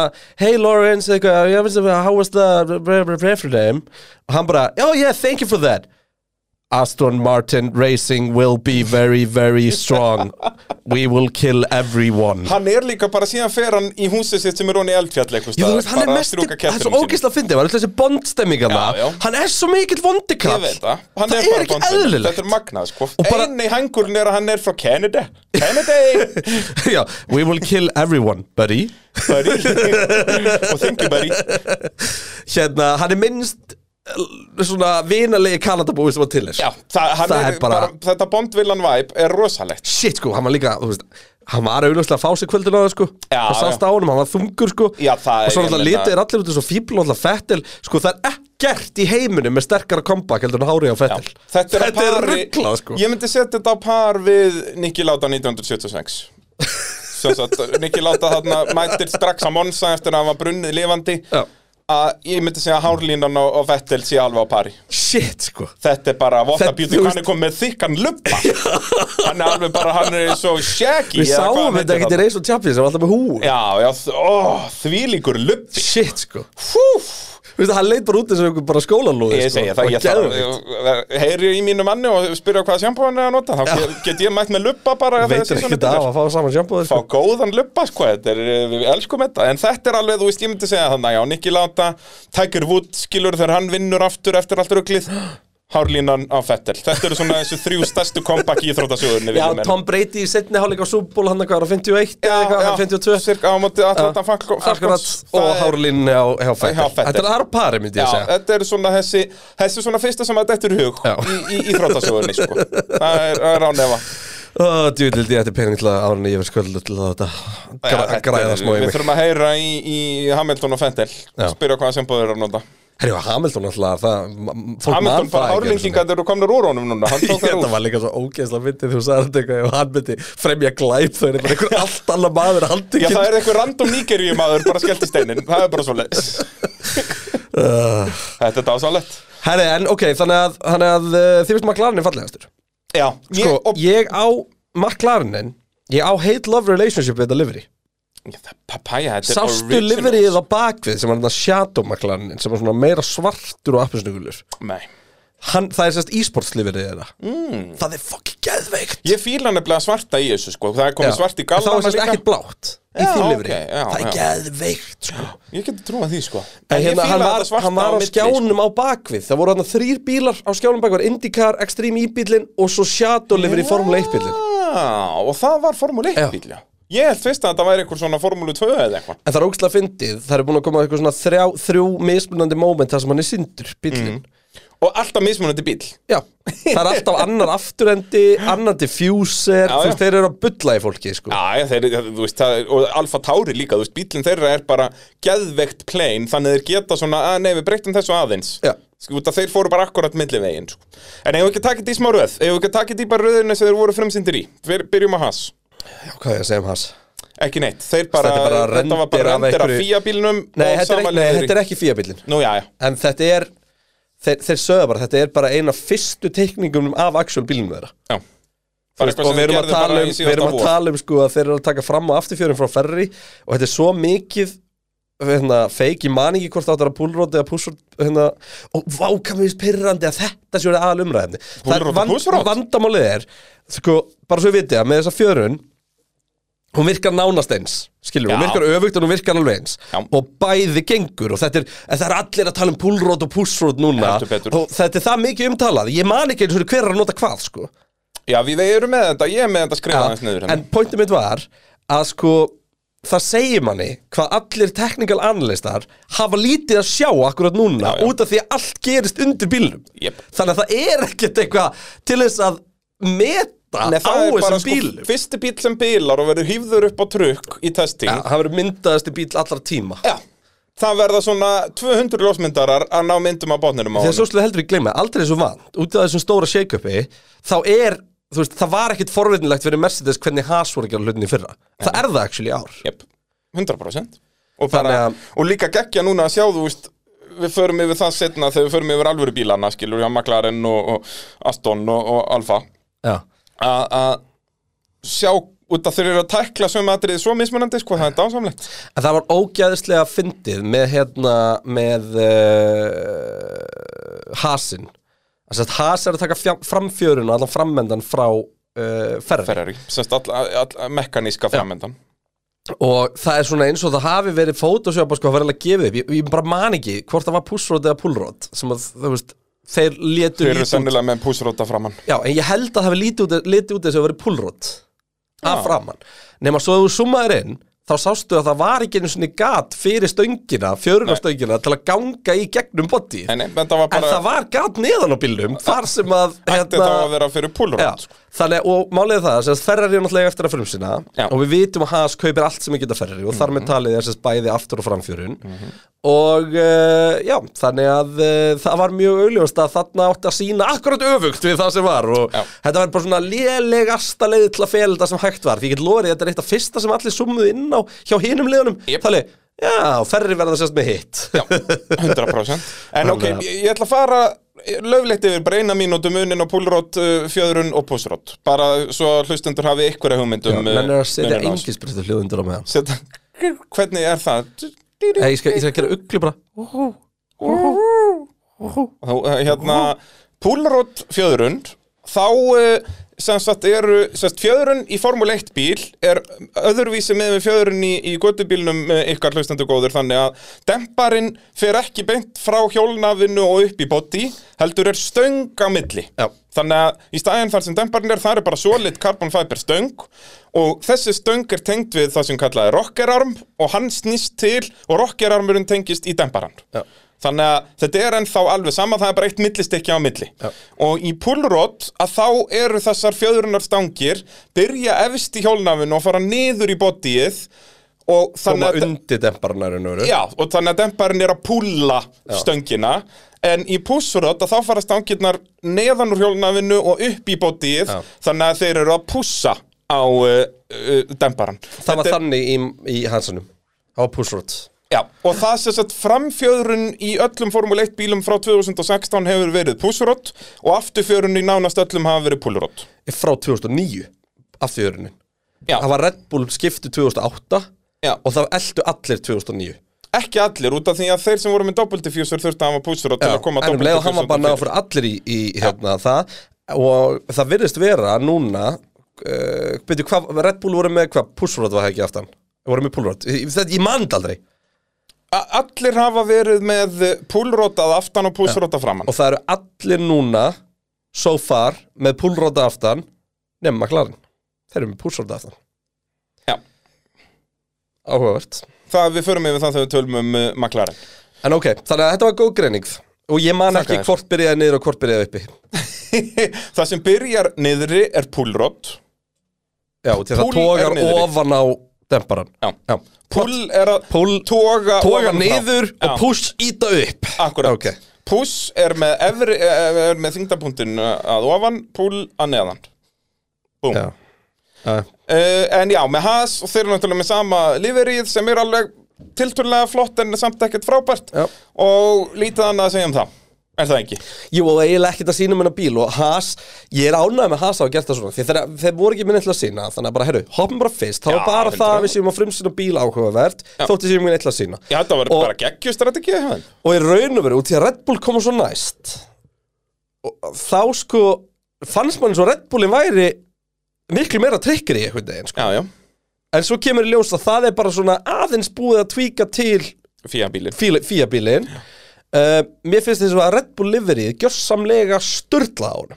A: hey Lawrence, eitthvað, ég finnst að how was the blah, blah, blah, for them og hann bara, oh yeah, thank you for that Aston Martin Racing will be very, very strong we will kill everyone
B: Hann er líka bara síðan fer hann í húsið sitt sem er honum í eldfjall eitthvað
A: Jú, þú
B: staðar,
A: veist, hann er
B: bara að
A: mest,
B: strjúka
A: hann er svo
B: kettinum sínum.
A: ógeðslega fyndið, hann er alltaf þessi bondstemmingarna,
B: Já, já.
A: hann er svo mikill
B: Ég
A: vondikall
B: veit það, hann
A: það
B: er bara
A: er ekki
B: bondinn.
A: eðlilegt
B: Þetta er magnað, sko
A: Og bara-
B: Einni hangurinn er að hann er frá Canada Canada
A: Já, we will kill everyone, buddy
B: Buddy Og thank you, buddy
A: Hérna, hann er minnst eh, svona vinalegi kanadabúi sem var til þess
B: Já, það, hann
A: Það
B: er,
A: er
B: bara...
A: bara-
B: Þetta bondvillan vibe er rosalegt
A: Shit, sko, hann var líka, þú veist Hann var auðvitað að fá sig kvöldin á það, sko
B: Já,
A: Það sást á
B: já.
A: honum, hann var þungur, sko
B: Já, það
A: Og svo
B: er- ég
A: náttúrulega
B: meina-
A: litið er allir út eins og fíbl og alltaf fettil Sko, það er ekkert í heiminum með sterkara comeback heldur en hárið á
B: Já.
A: fettil
B: Þetta er, á pari-
A: ruglað, sko
B: Ég myndi setja þetta á par við Nicky Láta 1976 Svo satt, Nicky Láta þarna mætir strax á Monsa eftir að hann var brunnið lifandi
A: Já.
B: að ég myndi segja að hárlínan og, og Vettel sé alveg á pari
A: Shit, sko
B: Þetta er bara, what a
A: Þetta-
B: beauty,
A: þú
B: hann er komið með þykkan lubba Hann er alveg bara, hann er svo shaggy
A: Við
B: eða hvað
A: sáum
B: hann
A: þetta
B: heitir
A: ekkert í
B: þarna.
A: reis og tjappi sem var alltaf með hú
B: Já, já, þ- ó, þvílíkur lubbi
A: Shit, sko
B: Húf,
A: Þú veist, hann leit bara út eins og einhver bara skólanlóði
B: ég
A: sko.
B: segja það,
A: Og
B: ég þarf
A: geðveikt.
B: ég- Heyri ég í mínu manni og spyrja hvað sjampo hann er að nota Þá get- get ég mætt með lubba bara ef það
A: veitir
B: sé
A: ekki
B: svona
A: það
B: bílar.
A: að fá saman sjampóð
B: Fá
A: sko.
B: góðan lubba, sko, þetta er, við elskum þetta En þetta er alveg, þú veist, ég myndi segja þannig Já, Nicky Láta, Tiger Wood, skilur þegar hann vinnur aftur eftir allt ruglið Hárlínan á Fettel Þetta eru svona þessu þrjú stærstu kompakk í Íþrótasjóðunni
A: Já, Tom Brady í setni hálfleik á Súból hann er hvað, hann er 51
B: Já,
A: eða eitthvað,
B: já,
A: hann er 52
B: Cirka á móti Atlanta Falcons
A: Akkurat,
B: Það
A: og
B: er-
A: hárlínni á hjá Fettel
B: Hjá Fettel.
A: Þetta er aðra pari, myndi
B: Já,
A: ég segja
B: þetta er svona þessi Þessi er svona fyrsta sem að dettur í hug
A: Já.
B: Í, í, í þróttasögunni, sko Það er, það er á nefa
A: Ó, Djúvildi, þetta er pening til að árunni ég verð sköldu til að þetta
B: Já,
A: gra-
B: þetta er-
A: græða smá í
B: Við
A: mig
B: þurfum að heyra í, í Hamilton og Fettel
A: Já.
B: Spyrja hvað sem búður að nota
A: Herjá, Hamilton alltaf, það, m- fólk
B: Hamilton
A: man það ekki einu
B: bara
A: sinni.
B: hárlingingar eru komnir úr honum núna Hann tók þær
A: Þetta
B: úr
A: var líka svo ógeðslega myndið þú sagði þetta eitthvað ef hann myndi fremja glæp þá er þetta bara einhver allt annar maður
B: Já,
A: handikinn
B: það er einhver random nýgerjum aður bara skellt í steinin Það er bara svo leis
A: Uh.
B: Þetta er dásalett
A: Herri, en ok, þannig að, þannig að uh, þið veist McLaren er fallegastur Sko,
B: Já, ég, og,
A: ég á McLarenin, ég á hate love relationship við þetta livery
B: ég, papaya, þetta er
A: Sástu
B: original.
A: liveryið á bakvið sem var þetta shadow McLarenin sem var svona meira svartur og appisnugulur
B: Nei
A: Hann, það er sérst e-sports liveryið þeirra mm. Það er fucking geðveikt
B: Ég fíla nefnilega svarta í þessu sko Það er komið svart í
A: Það
B: gallana
A: var sérst
B: líka
A: ekkert blátt í
B: Já,
A: því
B: ok,
A: livery
B: já,
A: Það er
B: já.
A: geðveikt sko
B: Ég geti trúað því sko
A: En
B: En ég
A: hérna,
B: fíla
A: hann var,
B: þetta svarta
A: hann var á
B: milli, sko.
A: skjánum á bakvið Það voru hann þrýr bílar á skjánum bakvið IndyCar, Extreme E-bílinn og svo Shadow Livery Formule 1-bílinn
B: sko. Já, og það var Formule 1
A: Já.
B: bíl, já Ég held fyrst að þetta væri einhver svona Formule 2 eða eitthvað
A: En það er ógstlega fyndið, það er búin að koma eitthvað svona þrjá, þrjú mismunandi moment þar sem hann er sindur,
B: Mm.
A: bílinn
B: Og alltaf mismunandi bíl
A: Já, það er alltaf annar afturendi, annar diffuser,
B: Já,
A: þú
B: já.
A: veist, þeir eru að bulla í fólki, sko
B: Já, já, þeir, þú veist, það, er- og Alfa Tauri líka, þú veist, bílinn þeirra er bara geðveikt plain, þannig að þeir geta svona, að nei, við breytum þessu aðeins.
A: Já.
B: Sko, út að þeir fóru bara akkurat millivegin, sko. En ef við ekki takit í smá röð, ef við ekki takit í bara röðinu sem þeir voru frumsindir í, Fyr, byrjum að has.
A: Já, hvað er ég að segja um hans?
B: Ekki neitt, þeir bara,
A: Þetta er bara
B: þetta var
A: rendir
B: bara
A: af
B: rendir af
A: einhverju-
B: fíabílnum
A: Nei, þetta er, ekki- nei, þetta er ekki fíabílinn
B: Nú, já, já.
A: En þetta er, þeir, þeir sögðu bara, þetta er bara eina fyrstu teikningunum af actual bílnum þeirra
B: já.
A: Þú
B: Bara
A: veist,
B: eitthvað
A: og við
B: sem þeir
A: erum að
B: gerðu
A: tala
B: bara
A: um,
B: í
A: við
B: síðasta
A: erum að
B: vor.
A: tala um sko, að þeir eru að taka fram og afturfjörin frá ferri og þetta er svo mikið hérna, feik, ég man ekki hvort það áttur að púlrót eða púsrót hérna, og vákamins pyrrandi að þetta séu aðal umræðinni Það
B: Púlrót og
A: er van,
B: púlrót?
A: vandamálið er sko, bara svo ég viti að með þessa fjörun hún virkar nánast eins skilur, hún
B: Já.
A: virkar öfugt og hún virkar alveg eins
B: Já.
A: og bæði gengur og þetta er, en það er allir að tala um púlrót og púsrót núna
B: Heldur betur.
A: og þetta er það mikið umtalað ég man ekki eins og hver er að nota hvað sko
B: Já, við erum með þetta, ég er með þetta skrifað aðeins niður. hérna.
A: en pointið mitt var að sko það segir manni hvað allir technical analystar hafa lítið að sjá akkurat núna
B: Já, já.
A: út af því að allt gerist undir bílnum
B: Jep.
A: þannig að það er ekkert eitthvað til þess að meta
B: Nei,
A: á
B: það er bara
A: þessum
B: sko,
A: bílum
B: fyrsti bíl sem bílar og verður hýfður upp á trukk í testing
A: það verður myndaðasti bíl allra tíma
B: Já, það verða svona 200 ljósmyndarar að ná myndum af botnirum á
A: Þegar svo
B: honum
A: slúið heldur við gleyma, aldrei þessu vant út af þessum stóra shake-upi, þá er þú veist, það var ekkert forvitinlegt fyrir Mercedes hvernig Haas voru að gera hlutin í fyrra það er það actually í ár
B: Jep, 100% og, bara,
A: Þannig að-
B: og líka geggja núna að sjá, þú veist Við förum yfir það setna þegar við förum yfir alvöru bílana skilur, já, McLaren og, og Aston og, og Alfa
A: Já.
B: að að sjá út að þeir eru að tækla sömu atriði svo mismunandi, sko, það er dásamlegt
A: En það var ógæðislega fyndið með hérna með uh, Hasin Þess að Has er að taka fjam- fram fjörun og allan frammendan frá uh, ferri.
B: Ferrari, semst all, all, all mekaníska framendan
A: og það er svona eins og það hafi verið fótosjópa sko, það var alveg gefið upp, ég, ég bara man ekki hvort það var pussrót eða pullrót sem að þú veist, þeir létu
B: Þeir eru
A: lítið út
B: sennilega með púsróta framann
A: Já, en ég held að það hafi lítið út, lítið út þess að verið pullrót
B: Já.
A: af framann nema svo ef þú summaðir inn þá sástu að það var ekki einu svona gat fyrir stöngina, fjörunastöngina til að ganga í gegnum bodyið
B: En nei, þetta var
A: En
B: bara,
A: það var gat neðan á bílnum þar sem að hérna,
B: þetta var að vera fyrir
A: já,
B: púlrót
A: þannig, og málið er það sem sagt, Ferrari er náttúrulega eftir að frumsina
B: Já. Mhm.
A: og við vitum að Haas kaupir allt sem við geta Ferrari og þar með talið er sem sagt bæði aftur og framfjörun og uh, já, þannig að uh, það var mjög augljóst að þarna átti að sína akkurat öfugt við það sem var og
B: Já.
A: þetta var bara svona lélegasta leið til að fela þetta sem hægt var því ég get lórið þetta er eitt af fyrsta sem allir summuð inn á hjá hinum liðunum
B: Jep.
A: þannig, já, Ferrari verða sérst með hitt
B: Já, 100% En ok,
A: Þannig að-
B: ég, ég ætla að fara löfleitt yfir bara eina mínútu munin og púlrót, uh, fjöðrun og púsrót bara svo hlustendur hafi einhverja um, uh, hugmyndum
A: menn er að setja
B: engin
A: engisbrystu hljóðundur á meðan
B: setja, Hvernig er það?
A: Nei, ég skal, ég skal gera uglu bara
B: Þá, uh, hérna, púlrót, fjöðrun þá uh, sem sagt eru sem sagt, fjöðrun í Formule 1 bíl er öðruvísi með við fjöðrun í, í göttubílnum ykkar hlustendur góður þannig að demparinn fer ekki beint frá hjólnafinu og upp í body heldur er stöng á milli
A: Já.
B: þannig að í staðin þar sem demparinn er það er bara solid carbon fiber stöng og þessi stöng er tengd við það sem kallaði rockerarm og hann snýst til og rockerarmurinn tengist í demparann
A: Já.
B: þannig að þetta er ennþá alveg sama það er bara eitt millistekki á milli
A: Já.
B: og í pullrot að þá eru þessar fjöðrunarstangir byrja efst í hjólnafinu og fara niður í bodyið og
A: koma
B: þannig að
A: undir demparnarinn og
B: Já, og þannig að demparinn er að púlla stöngina En í pússurödd að þá fara stangirnar neðan úr hjólnafinu og upp í bótið
A: Já.
B: Þannig að þeir eru að pússa á uh, uh, demparann
A: það var
B: Þetta er-
A: þannig í, í hansanum á Pushrod
B: Já, og það sem sagt framfjöðrun í öllum Formule 1 bílum frá 2016 hefur verið pússurödd Og afturfjörun í nánast öllum hafa verið púlurödd
A: frá 2009 af því örunin
B: Já,
A: það var Red Bull skiptu 2008
B: Já.
A: og það eldu allir 2009
B: ekki allir út af því að þeir sem voru með doppeltifjúsur þurftu að hafa pússurödd til að koma
A: en um leið og hann var
B: doppeltifjúsur
A: bara náða fyrir allir í, í hérna, það og það virðist vera núna uh, byrju, hvað, Red Bull voru með hvað, Pushrod var það ekki aftan voru með Pullrod, Ég- þetta ég mand aldrei
B: A- Allir hafa verið með púlrót að aftan og púlrót að framann
A: og það eru allir núna so far með Pullrod aftan nema McLaren, þeir eru með Pushrod aftan
B: Já.
A: áhugavert
B: Það við förum yfir það þegar við tölum um uh, McLaren
A: En ok, þannig að þetta var góð greining Og ég man
B: Þakka
A: ekki
B: þér.
A: hvort byrjaði niður og hvort byrjaði uppi Já,
B: Það sem byrjar niðri er púlrót
A: því að það
B: Púll er
A: tógar
B: niðri.
A: ofan á demparan
B: Já.
A: Já.
B: Púl er að
A: Púll-
B: toga
A: Tóga
B: ofan frá.
A: niður
B: Já.
A: og push íta upp
B: Akkurat
A: Ok.
B: Puss er með, efri, eh, er með þingdapunktin að ofan, púl að neðan Búm
A: Já. Já.
B: Uh, en já, með Haas og þeir eru náttúrulega með sama liverið sem er alveg tilturlega flott en samt ekkert frábært
A: Já.
B: og lítið annað að segja um það Er það ekki?
A: Jú, og eiginlega ekkert að sína um hennar bíl Og Haas, ég er ánægð með Haas að hafa gert það svona Því þeir, þeir voru ekki minni til að sína Þannig að bara, herru, hoppum bara fyrst Þá
B: Já,
A: er bara
B: heldur
A: það
B: það.
A: að við séum að frumsýna bíl áhugavert Þótti séum minni til að sína
B: Já, þetta var
A: Og-
B: bara geggjustrategi hefðan
A: Og í raun og veru, út í að Red Bull koma svo næst og Þá sko Fannst mann svo Red Bullin væri Miklu meira trikkir í einhvern veginn sko.
B: Já, já,
A: En svo kemur í ljós að það er bara svona Aðeins búið að tvíka til
B: fíja bílin
A: fíabílin uh, Mér finnst þess að Red Bull liverið Gjörsamlega sturla á honum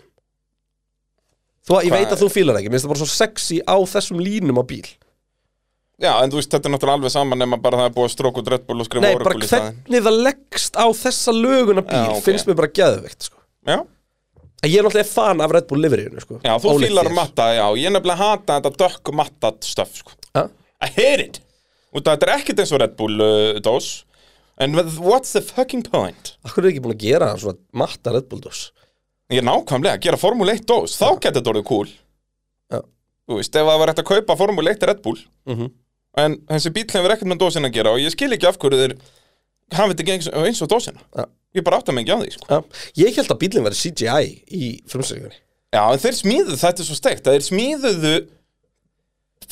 A: Þú að ég
B: Hvað
A: veit að þú fílar ekki Mér finnst það bara svo sexy á þessum línum á bíl
B: Já, en þú veist, þetta er náttúrulega alveg saman nema bara það er búið að stróka út Red Bull og skrifa
A: Nei, bara
B: Oracle í staðinn.
A: hvernig það leggst á þessa löguna bíl
B: Já, ok.
A: Finnst mér bara geðveikt sko.
B: Já,
A: En Ég er náttúrulega fan af Red Bull liveryinu sko.
B: já, þú
A: Ólíkt
B: fílar
A: þér.
B: matta, já, ég nefnilega hata þetta dökk matta stöf, sko
A: Ha?
B: I hate it Út að þetta er ekkert eins og Red Bull uh, dós And what's the fucking point?
A: Akkur er ekki búin að gera hann svona matta Red Bull dós
B: Ég er nákvæmlega að gera Formule 1 dós, þá geti þetta orðið cool
A: Já.
B: Þú veist, ef það var hægt að kaupa Formule 1 Red Bull
A: Mhm.
B: En þessi bíl hefur ekkert með dósin að gera og ég skil ekki af hverju þeir hafið þetta ekki eins- eins og dósina
A: Já.
B: Ég bara átta mig ekki á því, sko
A: ja. Ég held að bílinn verið CGI í frumsökinni
B: Já, en þeir smíðuðu, þetta er svo steikt að Þeir smíðuðu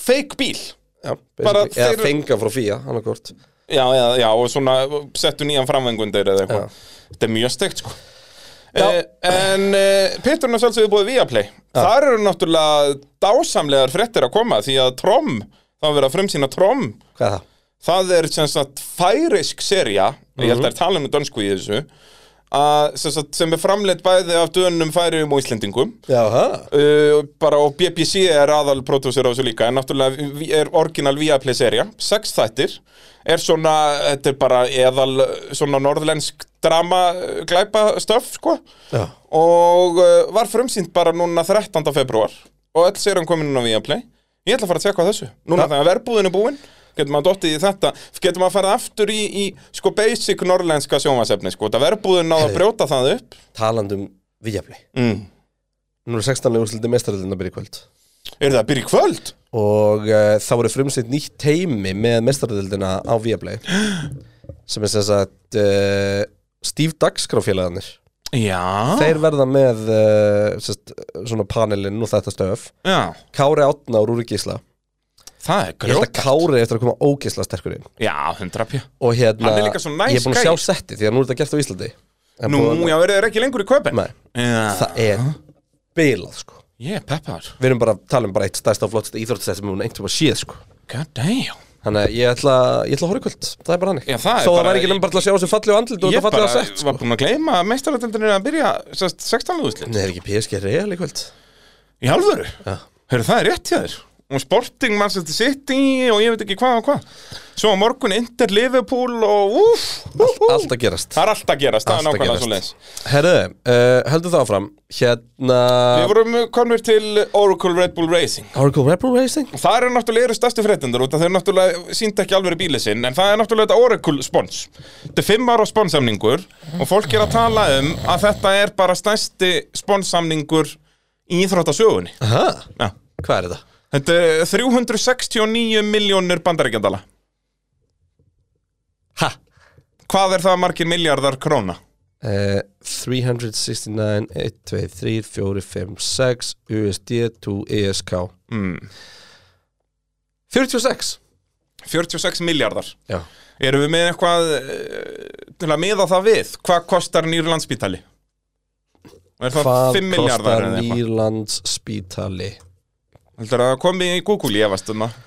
B: fake bíl
A: ja,
B: Bara
A: basically. Eða
B: þeir-
A: fenga frá fía, hann er hvort
B: Já, já, já, og svona settu nýjan framvengundir eða eitthvað Þetta er mjög steikt, sko
A: Já.
B: Eh, En eh, pitturinn er sjálfsögðu búið Viaplay Þar eru náttúrulega dásamlegar fréttir að koma Því að Trom, þá verið að frumsýna Trom
A: Hvað er það?
B: Það er sem sagt færisk serja Ég held að það er talað með dönsku í þessu að, sem, sagt, sem er framleitt bæði af dönum færiðum og íslendingum
A: Já, ha?
B: uh, bara og BBC er aðal pródúsir á þessu líka en náttúrulega vi- er orginal Viaplay serja sex þættir er svona, þetta er bara eðal uh, svona norðlensk drama uh, glæpa stöf sko
A: Já.
B: og uh, var frumsýnd bara núna 13. februar og öll serum komin inn á Viaplay ég ætla að fara að tjekka á þessu núna
A: Ja.
B: þegar verbúðin er búin getur maður dottið í þetta, getur maður að fara aftur í, í sko basic norrlenska sjónvasefni sko, þetta verbúðin náða að
A: Heyrðu.
B: brjóta það upp
A: Talandum viðjafli
B: mm.
A: Nú er 16. úrsluti mestaröldin að byrja í kvöld
B: er það að byrja í kvöld?
A: Og uh, þá voru frumsýnt nýtt teimi með mestaröldina á Viaplay Sem er sem sagt uh, Steve Dagskráfélagarnir
B: Já,
A: Þeir verða með uh, sest, svona panelinn og þetta stöf
B: Já,
A: Kári Átna og Rúri Gísla
B: það er
A: Ég held
B: grjót
A: að Kári eftir að koma ógisla sterkur inn
B: Já, hundra pjö
A: Og hérna,
B: Hann er líka svo næs
A: ég er búin að sjá
B: gæi.
A: setti Því að nú er þetta gert á Íslandi En
B: Nú,
A: búin að-
B: já, verður þeir ekki lengur í köpinn
A: Nei,
B: Já,
A: Það er bilað sko
B: ég er peppar
A: Við erum bara að tala um bara eitt stærsta og flottasta íþróttstæð sem hún eintum að séð sko
B: God damn
A: Þannig að ég ætla, ég ætla að horfa í kvöld, það er bara hannig
B: Já, það er
A: Þó
B: bara-
A: það væri ekki nefnum bara til að sjá þessu falli og andlit og þetta
B: Ég bara
A: falli að sett sko
B: var búin að gleyma að meistaratöldin er að byrja sest, 16. úrslit
A: Nei, er ekki PSG real í kvöld
B: Í alvöru, hörðu það er rétt hjá þér og Sporting Manchester City og ég veit ekki hvað og hvað svo á morgun Inter Liverpool og úf, úf, úf.
A: Allt að gerast
B: það er allt að gerast, það er
A: Allt að
B: nákvæmlega
A: gerast.
B: svo leis
A: Herðu, uh, heldur það áfram Hérna
B: Við vorum konur til Oracle Red Bull Racing
A: Oracle Red Bull Racing
B: Það eru náttúrulega eru stærstu fréttindur út að þeir náttúrulega sínda ekki alveg bíli sinn en það er náttúrulega þetta Oracle spons Þetta er fimm ára sponsamningur og fólk er að tala um að þetta er bara stærsti sponsamningur í íþróttasögunni
A: Aha,
B: ja.
A: Hvað er þetta?
B: Þetta er 369 miljónir bandaríkjandala
A: Ha?
B: Hvað er það margir miljardar króna?
A: Uh, 369 1, 2, 3, 4, 5, 6 USD 2 ESK
B: Mm.
A: 46
B: 46 miljardar
A: Já
B: Erum við með eitthvað eh, til að miða það við? Hvað kostar nýr landspítali? Er það
A: Hvað
B: 5 miljardar
A: kostar
B: eða eitthvað?
A: Nýrlands spítali?
B: Heldur að það komi í Google í efast um það?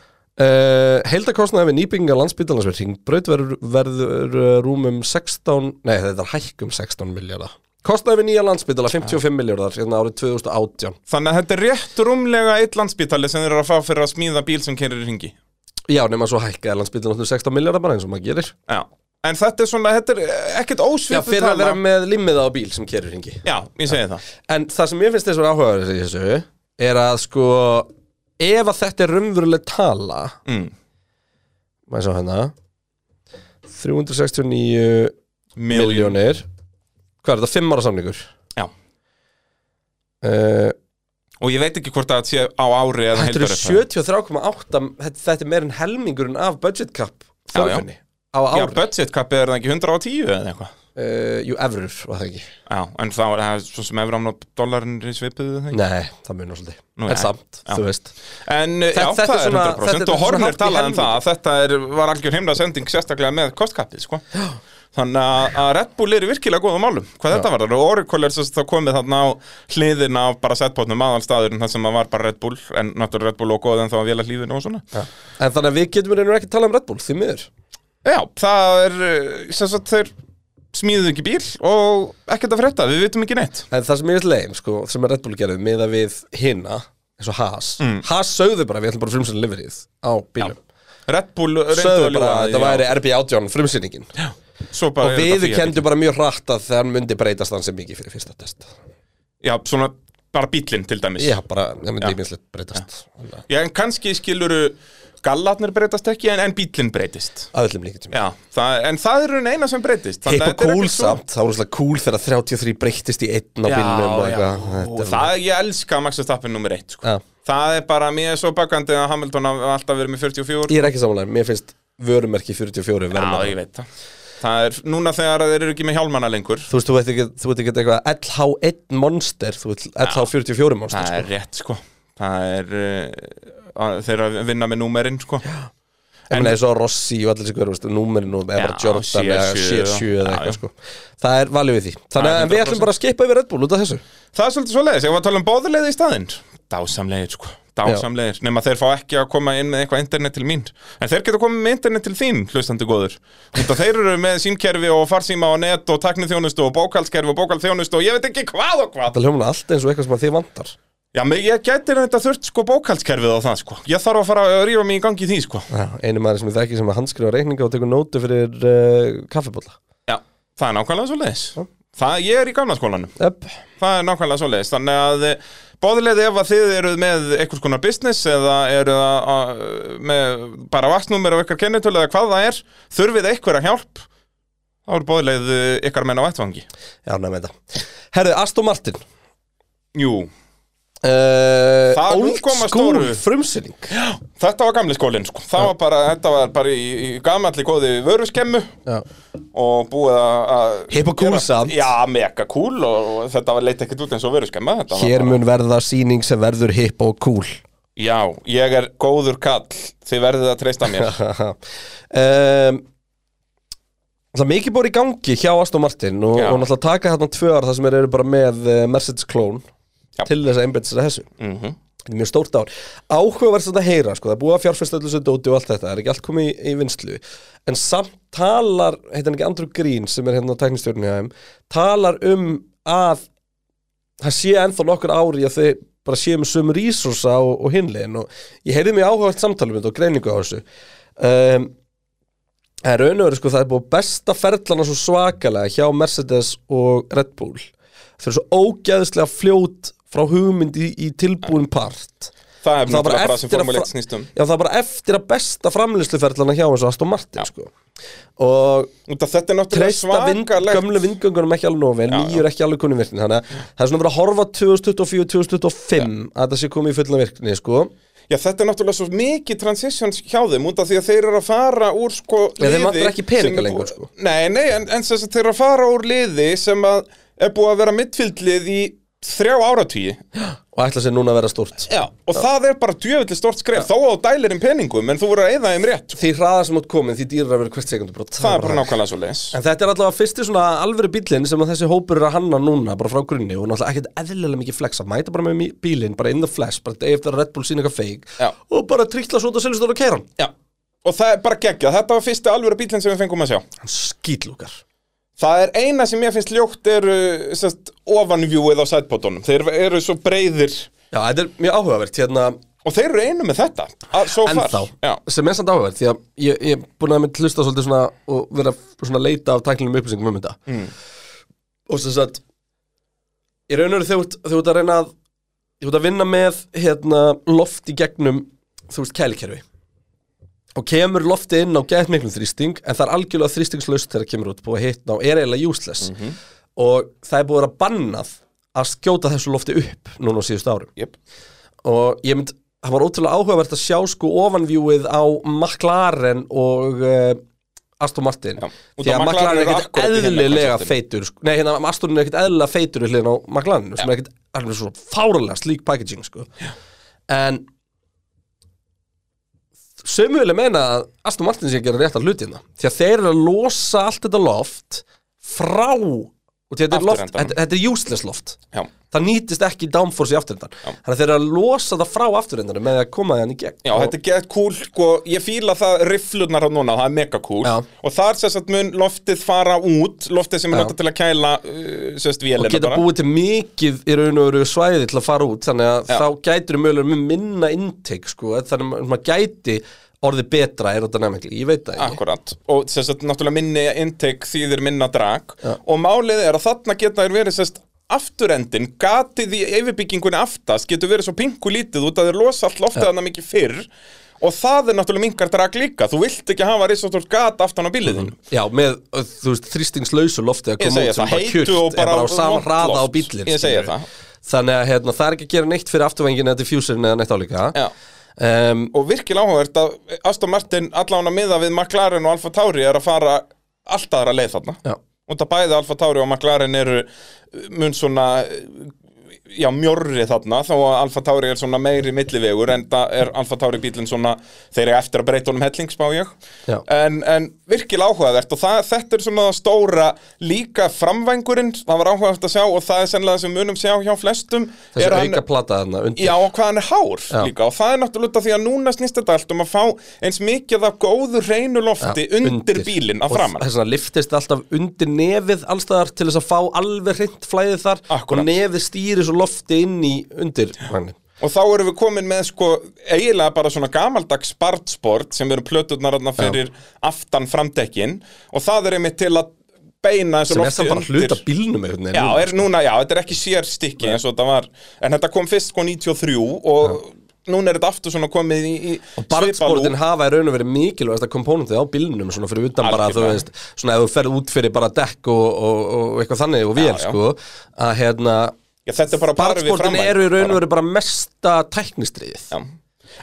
A: Uh, Heildakostnaði við nýbyggingar landsbítalans við ringbraut verður, verður uh, rúmum 16, nei þetta er hækkum 16 miljardar. Kostnaði við nýja landsbítala
B: Ah.
A: 55 miljardar hérna árið 2018.
B: Þannig að þetta er rétt rúmlega eitt landspítali sem þeir eru að fá fyrir að smíða bíl sem kerir í ringi.
A: Já, nema svo hækkaði landsbítalans 16 miljardar bara eins og maður gerir.
B: Já. En þetta er svona, þetta er eh, ekkert
A: Já,
B: ósvipu
A: fyrir að vera með limmiða á bíl sem kerir ringi.
B: Já, ég segi það.
A: En það sem ég finnst þess að vera áhugaður í þessu er að sko, ef að þetta er raunveruleg tala,
B: Mm.
A: maður svo hérna, 369 miljónir, hvað er þetta, 5 ára samningur?
B: Já.
A: Uh,
B: Og ég veit ekki hvort það sé á ári eða
A: Þetta eru
B: heildarupphæð.
A: 73,8 þetta, þetta er meir en helmingurinn af budget cap
B: Já, já.
A: þörfinni á
B: Já,
A: ári
B: budget kappið er það ekki 110 eða eitthvað.
A: uh, Jú, evrur var það ekki
B: Já, en þá er það svo sem efram og dólarinn er í svipuðu þegar.
A: Nei, það munar svolítið
B: Nú,
A: En
B: já.
A: samt,
B: Já.
A: þú veist
B: En eh, já,
A: Þetta- þetta
B: það
A: er
B: er
A: svona-
B: 100%
A: þetta- þetta er
B: og
A: svona
B: Horner
A: hátt í
B: talaði um
A: helmingi.
B: það að þetta er, var algjör heimra sending sérstaklega með kostkappið sko. Þannig að- að Red Bull eru virkilega góða málum hvað þetta var og Oracle er sérst þá komið þarna á hliðina af bara setpotnum aðalstaðurinn þar sem að var bara Red Bull en náttúrulega Red Bull og góð en þá að vila hlífinu og svona
A: já. En þannig að við getum reynir ekki að tala um Red Bull, því miður
B: Já, það er sérst þeir smíðuðu ekki bíl og ekkert að frétta, við vitum ekki neitt
A: En það sem ég veist leim, sko, sem að Red Bull gerði miða við hinna, eins og Haas
B: Mm.
A: Haas sögðu bara, við ætlum bara frumsynni liverið á bílum
B: Red Bull reyndu
A: Sögðu bara
B: að ljúga
A: að
B: því,
A: þetta
B: já.
A: væri RB18 frumsynningin
B: Svo bara
A: Og
B: er þetta
A: við
B: því að-
A: kendum bara mjög hratt að þann myndi breytast þann sem mikið fyrir fyrsta test
B: Já, svona bara bílinn til dæmis
A: Já, bara, það myndi
B: Já.
A: íminslega breytast Þannig að-
B: Já, en kannski skiluru gallarnir breytast ekki en, en bílinn breytist.
A: Að öllum líka
B: Já, það, en það eru eina sem breytist. þannig
A: Hippa
B: að þetta er
A: cool
B: ekkert svo-
A: samt, það voru svolítið cool þegar 33 breyttist í einn á
B: Já,
A: bílnum og
B: já,
A: eitthvað
B: og
A: Þetta er-
B: það ég elska Max Verstappen nummer eitt, sko.
A: Já.
B: Það er bara, mér er svo bakandi að Hamilton hafi alltaf verið með 44.
A: Ég er ekki samanlega, mér finnst vörumerki 44
B: Já,
A: verðmætt
B: ég veit það. Það er núna þegar þeir eru ekki með hjálmana lengur.
A: Þú veist, þú veit ekki, þú veit ekki eitthvað LH1 monster, þú veit LH44 monster
B: Það
A: sko.
B: er rétt, sko. Það er, uh, að- þeir eru að vinna með númerinn, sko.
A: Ég meina, eins og Rossi og allir sigur, veist, númerinu eða bara
B: Já,
A: Jordan eða
B: CR7
A: CR7 eða
B: já,
A: eitthvað
B: já.
A: sko Það er valið við því, þannig
B: Það er
A: að við
B: 100%.
A: ætlum bara að skipa yfir Red Bull út af þessu
B: Það er svolítið svoleiðis, ég var að tala um báðulegði í staðinn Dásamlegir sko, dásamlegir Nefn að þeir fá ekki að koma inn með eitthvað internet til mín En þeir geta komið með internet til þín, hlustandi góður Út að þeir eru með símkerfi og farsíma og net og takniþjónustu og bókalskerfi og bókalþjónustu og ég veit ekki hvað og hvað
A: Það hljóma allt eins og eitthvað sem að þið vantar
B: Já, menn ég gæti þetta þurft sko bókalskerfið á það sko Ég þarf að fara að rífa mig í gangi í því sko
A: Já, Einu maður sem ég þekki sem að handskrifa reikninga og tekur nótu fyrir uh, kaffibólla
B: Já, það er nákvæmlega svoleiðis Það, ég er í gamla skólanum
A: Upp,
B: Það er nákvæmlega svoleiðis, þannig að bóðilegði ef að þið eruð með einhvers konar business eða eruð að, að, með bara vatsnúmer og ykkar kennitölu eða hvað það er, þurfið einhverja hjálp, þá er bóðilegð ykkar menn á vettvangi.
A: já, nefnum þetta Herðu, Aston Martin
B: Jú,
A: Uh,
B: Það er nú
A: old
B: koma
A: school
B: stóru.
A: frumsýning
B: þetta var gamli skólinn sko, það var bara, þetta var bara í, í gamalli góði vöruskemmu og búið að- að...
A: Hipp og cool
B: gera-
A: samt.
B: Já, mega cool og, og þetta var leitt ekkert út eins og vöruskemma. þetta var
A: Hér
B: bara-
A: mun verða síning sem verður hipp og cool
B: Já, ég er góður kall, þið verðið að treysta mér.
A: um, Það er mikið búið í gangi hjá Aston Martin og,
B: Já.
A: og náttúrulega taka þarna tvö ára þar sem þeir eru bara með eh, Mercedes klón
B: Já.
A: til þess að einbæta sér að þessu
B: mm -hmm.
A: Þetta er mjög stórt ár Áhugaverð sem þetta heyra, sko, það er búið að fjárfesta öllu sem dóti og allt þetta, það er ekki allt komið í, í vinslu En samt talar, heitir hann ekki Andrew Green sem er hérna á tæknistjórnum hjá þeim Talar um að það sé ennþá nokkur ári að þau bara séu með sömu resursa og, og hinlegin og ég heyrði mjög áhugavert samtalum og greiningu á þessu um, en raun og veru sko það er búið að besta ferlana svo svakalega hjá Mercedes og Red Bull þau eru svo ógæðislega fljót frá hugmynd í, í tilbúin part það var
B: Það er náttúrulega bara
A: eftir
B: sem um.
A: að
B: formulegt
A: fra-
B: snýstum
A: já það er bara eftir að besta framlýsluferlana hjá eins og Aston Martin sko. og
B: Út af þetta er náttúrulega
A: treysta vind, gömlu
B: svakalegt
A: vindgöngunum ekki alveg nógu vel,
B: Já, já. Mm.
A: nýjur ekki alveg kunni virkni þannig að það er svona verið að horfa 2024-2025 að það sé komið í fullna virkni sko.
B: Já, þetta er náttúrulega svo mikið transitions hjá þeim út af því að þeir eru að fara úr sko
A: Já, þeim vantar
B: liði
A: ekki peninga
B: sem er bú-
A: lengur, sko.
B: Nei, nei, en, en sem sagt, þeir eru að fara úr liði sem að er búið að vera mittfildlið í þrjá áratvíi
A: og ætla sér núna að vera stort
B: Já, og það er bara djöfulli stort skref þó á dælirinn um peningum, en þú voru að eyða þeim rétt
A: því hraðar sem átt komin, því dýrar að vera hvert sekundubrot
B: Það er bara nákvæmlega svo leis
A: En þetta er allavega fyrsti svona alvöru bílinn sem að þessi hópur er að hanna núna, bara frá grunni og náttúrulega ekkert eðlilega mikið flexa, mæta bara með mí- bílinn, bara in the flash, bara degi eftir að Red Bull sína eitthvað feik
B: Já.
A: og bara trýtla svo út að seljastóra og keira hann.
B: Já, og það er bara geggjað, þetta var fyrsti alvöru bílinn sem við fengum að sjá
A: Hann skýtlúkar.
B: Það er eina sem ég finnst ljótt er uh, sest, ofanvjúið á sætbótunum Þeir eru svo breyðir
A: Já, þetta er mjög áhugavert, hérna,
B: og þeir eru einu með þetta að, so far.
A: ennþá,
B: Já.
A: sem er samt áhverð því að ég, ég er búin að mynd hlusta svolítið svona og vera svona að leita af tæknilegum upplýsingum um þetta mm. og sem sagt ég raun og veru þegar þú ert að reyna að þú ert að vinna með hérna, loft í gegnum þú veist kælikerfi og kemur loftið inn á gett miklum þrýsting en það er algjörlega þrýstingslaust þegar það kemur út búið að hitna og er eiginlega useless
B: Mhm.
A: og það er búið að vera bannað að skjóta þessu lofti upp núna á síðustu árum
B: Jöp.
A: og ég mynd, það var ótrúlega áhugavert að sjá sko ofanvjúið á McLaren og uh, Aston Martin
B: Já. Út
A: því
B: af
A: að
B: McLaren
A: McLaren er
B: eru
A: ekkert
B: akkúrat hérna í hinna
A: eðlilega
B: konceptinu.
A: feitur sko. nei, hérna, Aston er ekkert eðlilega feitur í hliðin á McLaren sem er ekkert alveg svo fárlega slík packaging sko. en sömuðileg meina að Aston Martin sé að gera rétt að hlutina því að þeir eru að losa allt þetta loft frá og því að þetta er loft,
B: Afturendanum.
A: þetta, þetta er useless loft
B: Já.
A: það nýtist ekki downforce í afturendan þannig að þeir eru að losa það frá afturendanum með að koma þannig gegn
B: Já, þetta er gett kúl og ég fíla það rifflunar á núna, það er mega kúl
A: Já.
B: og þar sérst að mun loftið fara út loftið sem er
A: Já.
B: notað til að kæla uh, sérst
A: og
B: vélina
A: geta
B: bara
A: búið til mikið í raun og veru svæði til að fara út þannig að
B: Já.
A: þá gætur við mögulega með minna intake sko, þannig að maður gæti orðið betra aerodynamically, ég veit það
B: Ah.
A: ekki
B: Akkurat, og sérst að náttúrulega minni intake þýðir minna drag og málið er að þarna geta þér verið sérst afturendin, gatið í yfirbyggingunni aftast getur verið svo pingu lítið út að þeir losa allt loftið hann mikið fyrr og það er náttúrulega mingar drag líka þú vilt ekki hafa risastórt gat aftan á bíliðinu
A: Já, með, ö, þú veist, þrýstingslausu lofti að
B: Ég
A: koma
B: segi
A: út sem
B: það,
A: bara
B: heitu
A: kjurt er
B: og bara
A: bara á sama
B: vont
A: hraða á
B: loft.
A: bílinn
B: Ég segi
A: skilurðu.
B: það.
A: Þannig að hérna, það er ekki að gera neitt fyrir afturvengin eða diffuserin eða neitt álíka
B: Já.
A: um,
B: og virkilega áhugavert að Aston Martin allan að miða við McLaren og Alfa Tauri er að fara allt aðra leið þarna
A: Já,
B: og það bæði Alfa Tauri og McLaren eru uh, mun svona uh, já, mjörri þarna þó að Alfa Tauri er svona meiri millivegur en það er Alfa Tauri bílinn svona þeir eru eftir að breyta honum helling spá ég
A: Já.
B: en, en virkilega áhugavert og það, þetta er svona það stóra líka framvængurinn, það var áhugavert að sjá og það er sennilega það sem við munum sjá hjá flestum
A: þessi
B: er hann-
A: auka plata þarna undir
B: Já, og hvað hann er hár líka og það er náttúrulega út af því að núna snýst þetta allt um að fá eins mikið af góðu reynu lofti undir, bílinn að
A: Og
B: framann
A: þess að liftist alltaf undir nefið allstaðar til þess að fá alveg hreint flæðið þar
B: Akkúrat.
A: Og nefið stýri svo lofti inn í undir vagnin.
B: og þá erum við komin með sko eiginlega bara svona gamaldags bartsport sem eru plöturnar þarna fyrir aftan framdekkin og það er einmitt til að beina þessu
A: Sem er
B: lofti
A: samt bara
B: undir
A: hluta bílnum sko. einhvern veginn
B: Já,
A: núna.
B: er núna, já, þetta er ekki sér stykki eins og þetta var En þetta kom fyrst sko 93 og núna er þetta aftur svona komið í, í
A: Og
B: svipað lúk.
A: barnsportin hafa í raun og verið mikilvægasta komponentið á bílnum svona fyrir utan bara að þú
B: Algjörlega.
A: veist svona ef þú ferð út fyrir bara dekk og, og, og eitthvað þannig og vél
B: Já, já.
A: sko að hérna
B: Já, Þetta er bara parið við
A: barnsportin
B: framvæng
A: eru í raun
B: bara.
A: og verið bara mesta tæknistriðið
B: Já.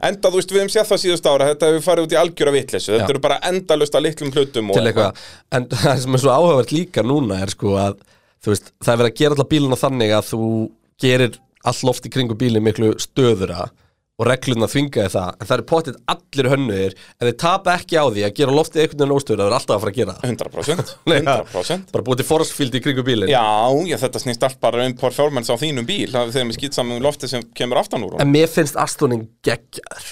B: Enda, þú veist, við hefum séð það síðust ára Þetta hefur farið út í algjöra vitleysu Þetta
A: Já.
B: eru bara endalust að litlum hlutum og-
A: til eitthvað en það sem er svo áhugavert líka núna er sko að þú veist það er verið að gera alltaf bíluna þannig að þú gerir all loft í kringu bílinn miklu stöðura og regluna þvingaði það en það er pottitt allir hönnuðir en þeir tapa ekki á því að gera loftið einhvern veginn óstöður það er alltaf að fara að gera það
B: 100%
A: Nei,
B: 100%
A: bara búið til forstfíld í kringu bílinn
B: Já, já, þetta snýst allt bara um performance á þínum bíl Það er þegar við skýtsamum lofti sem kemur aftan úr honum.
A: en mér finnst Astonin geggjar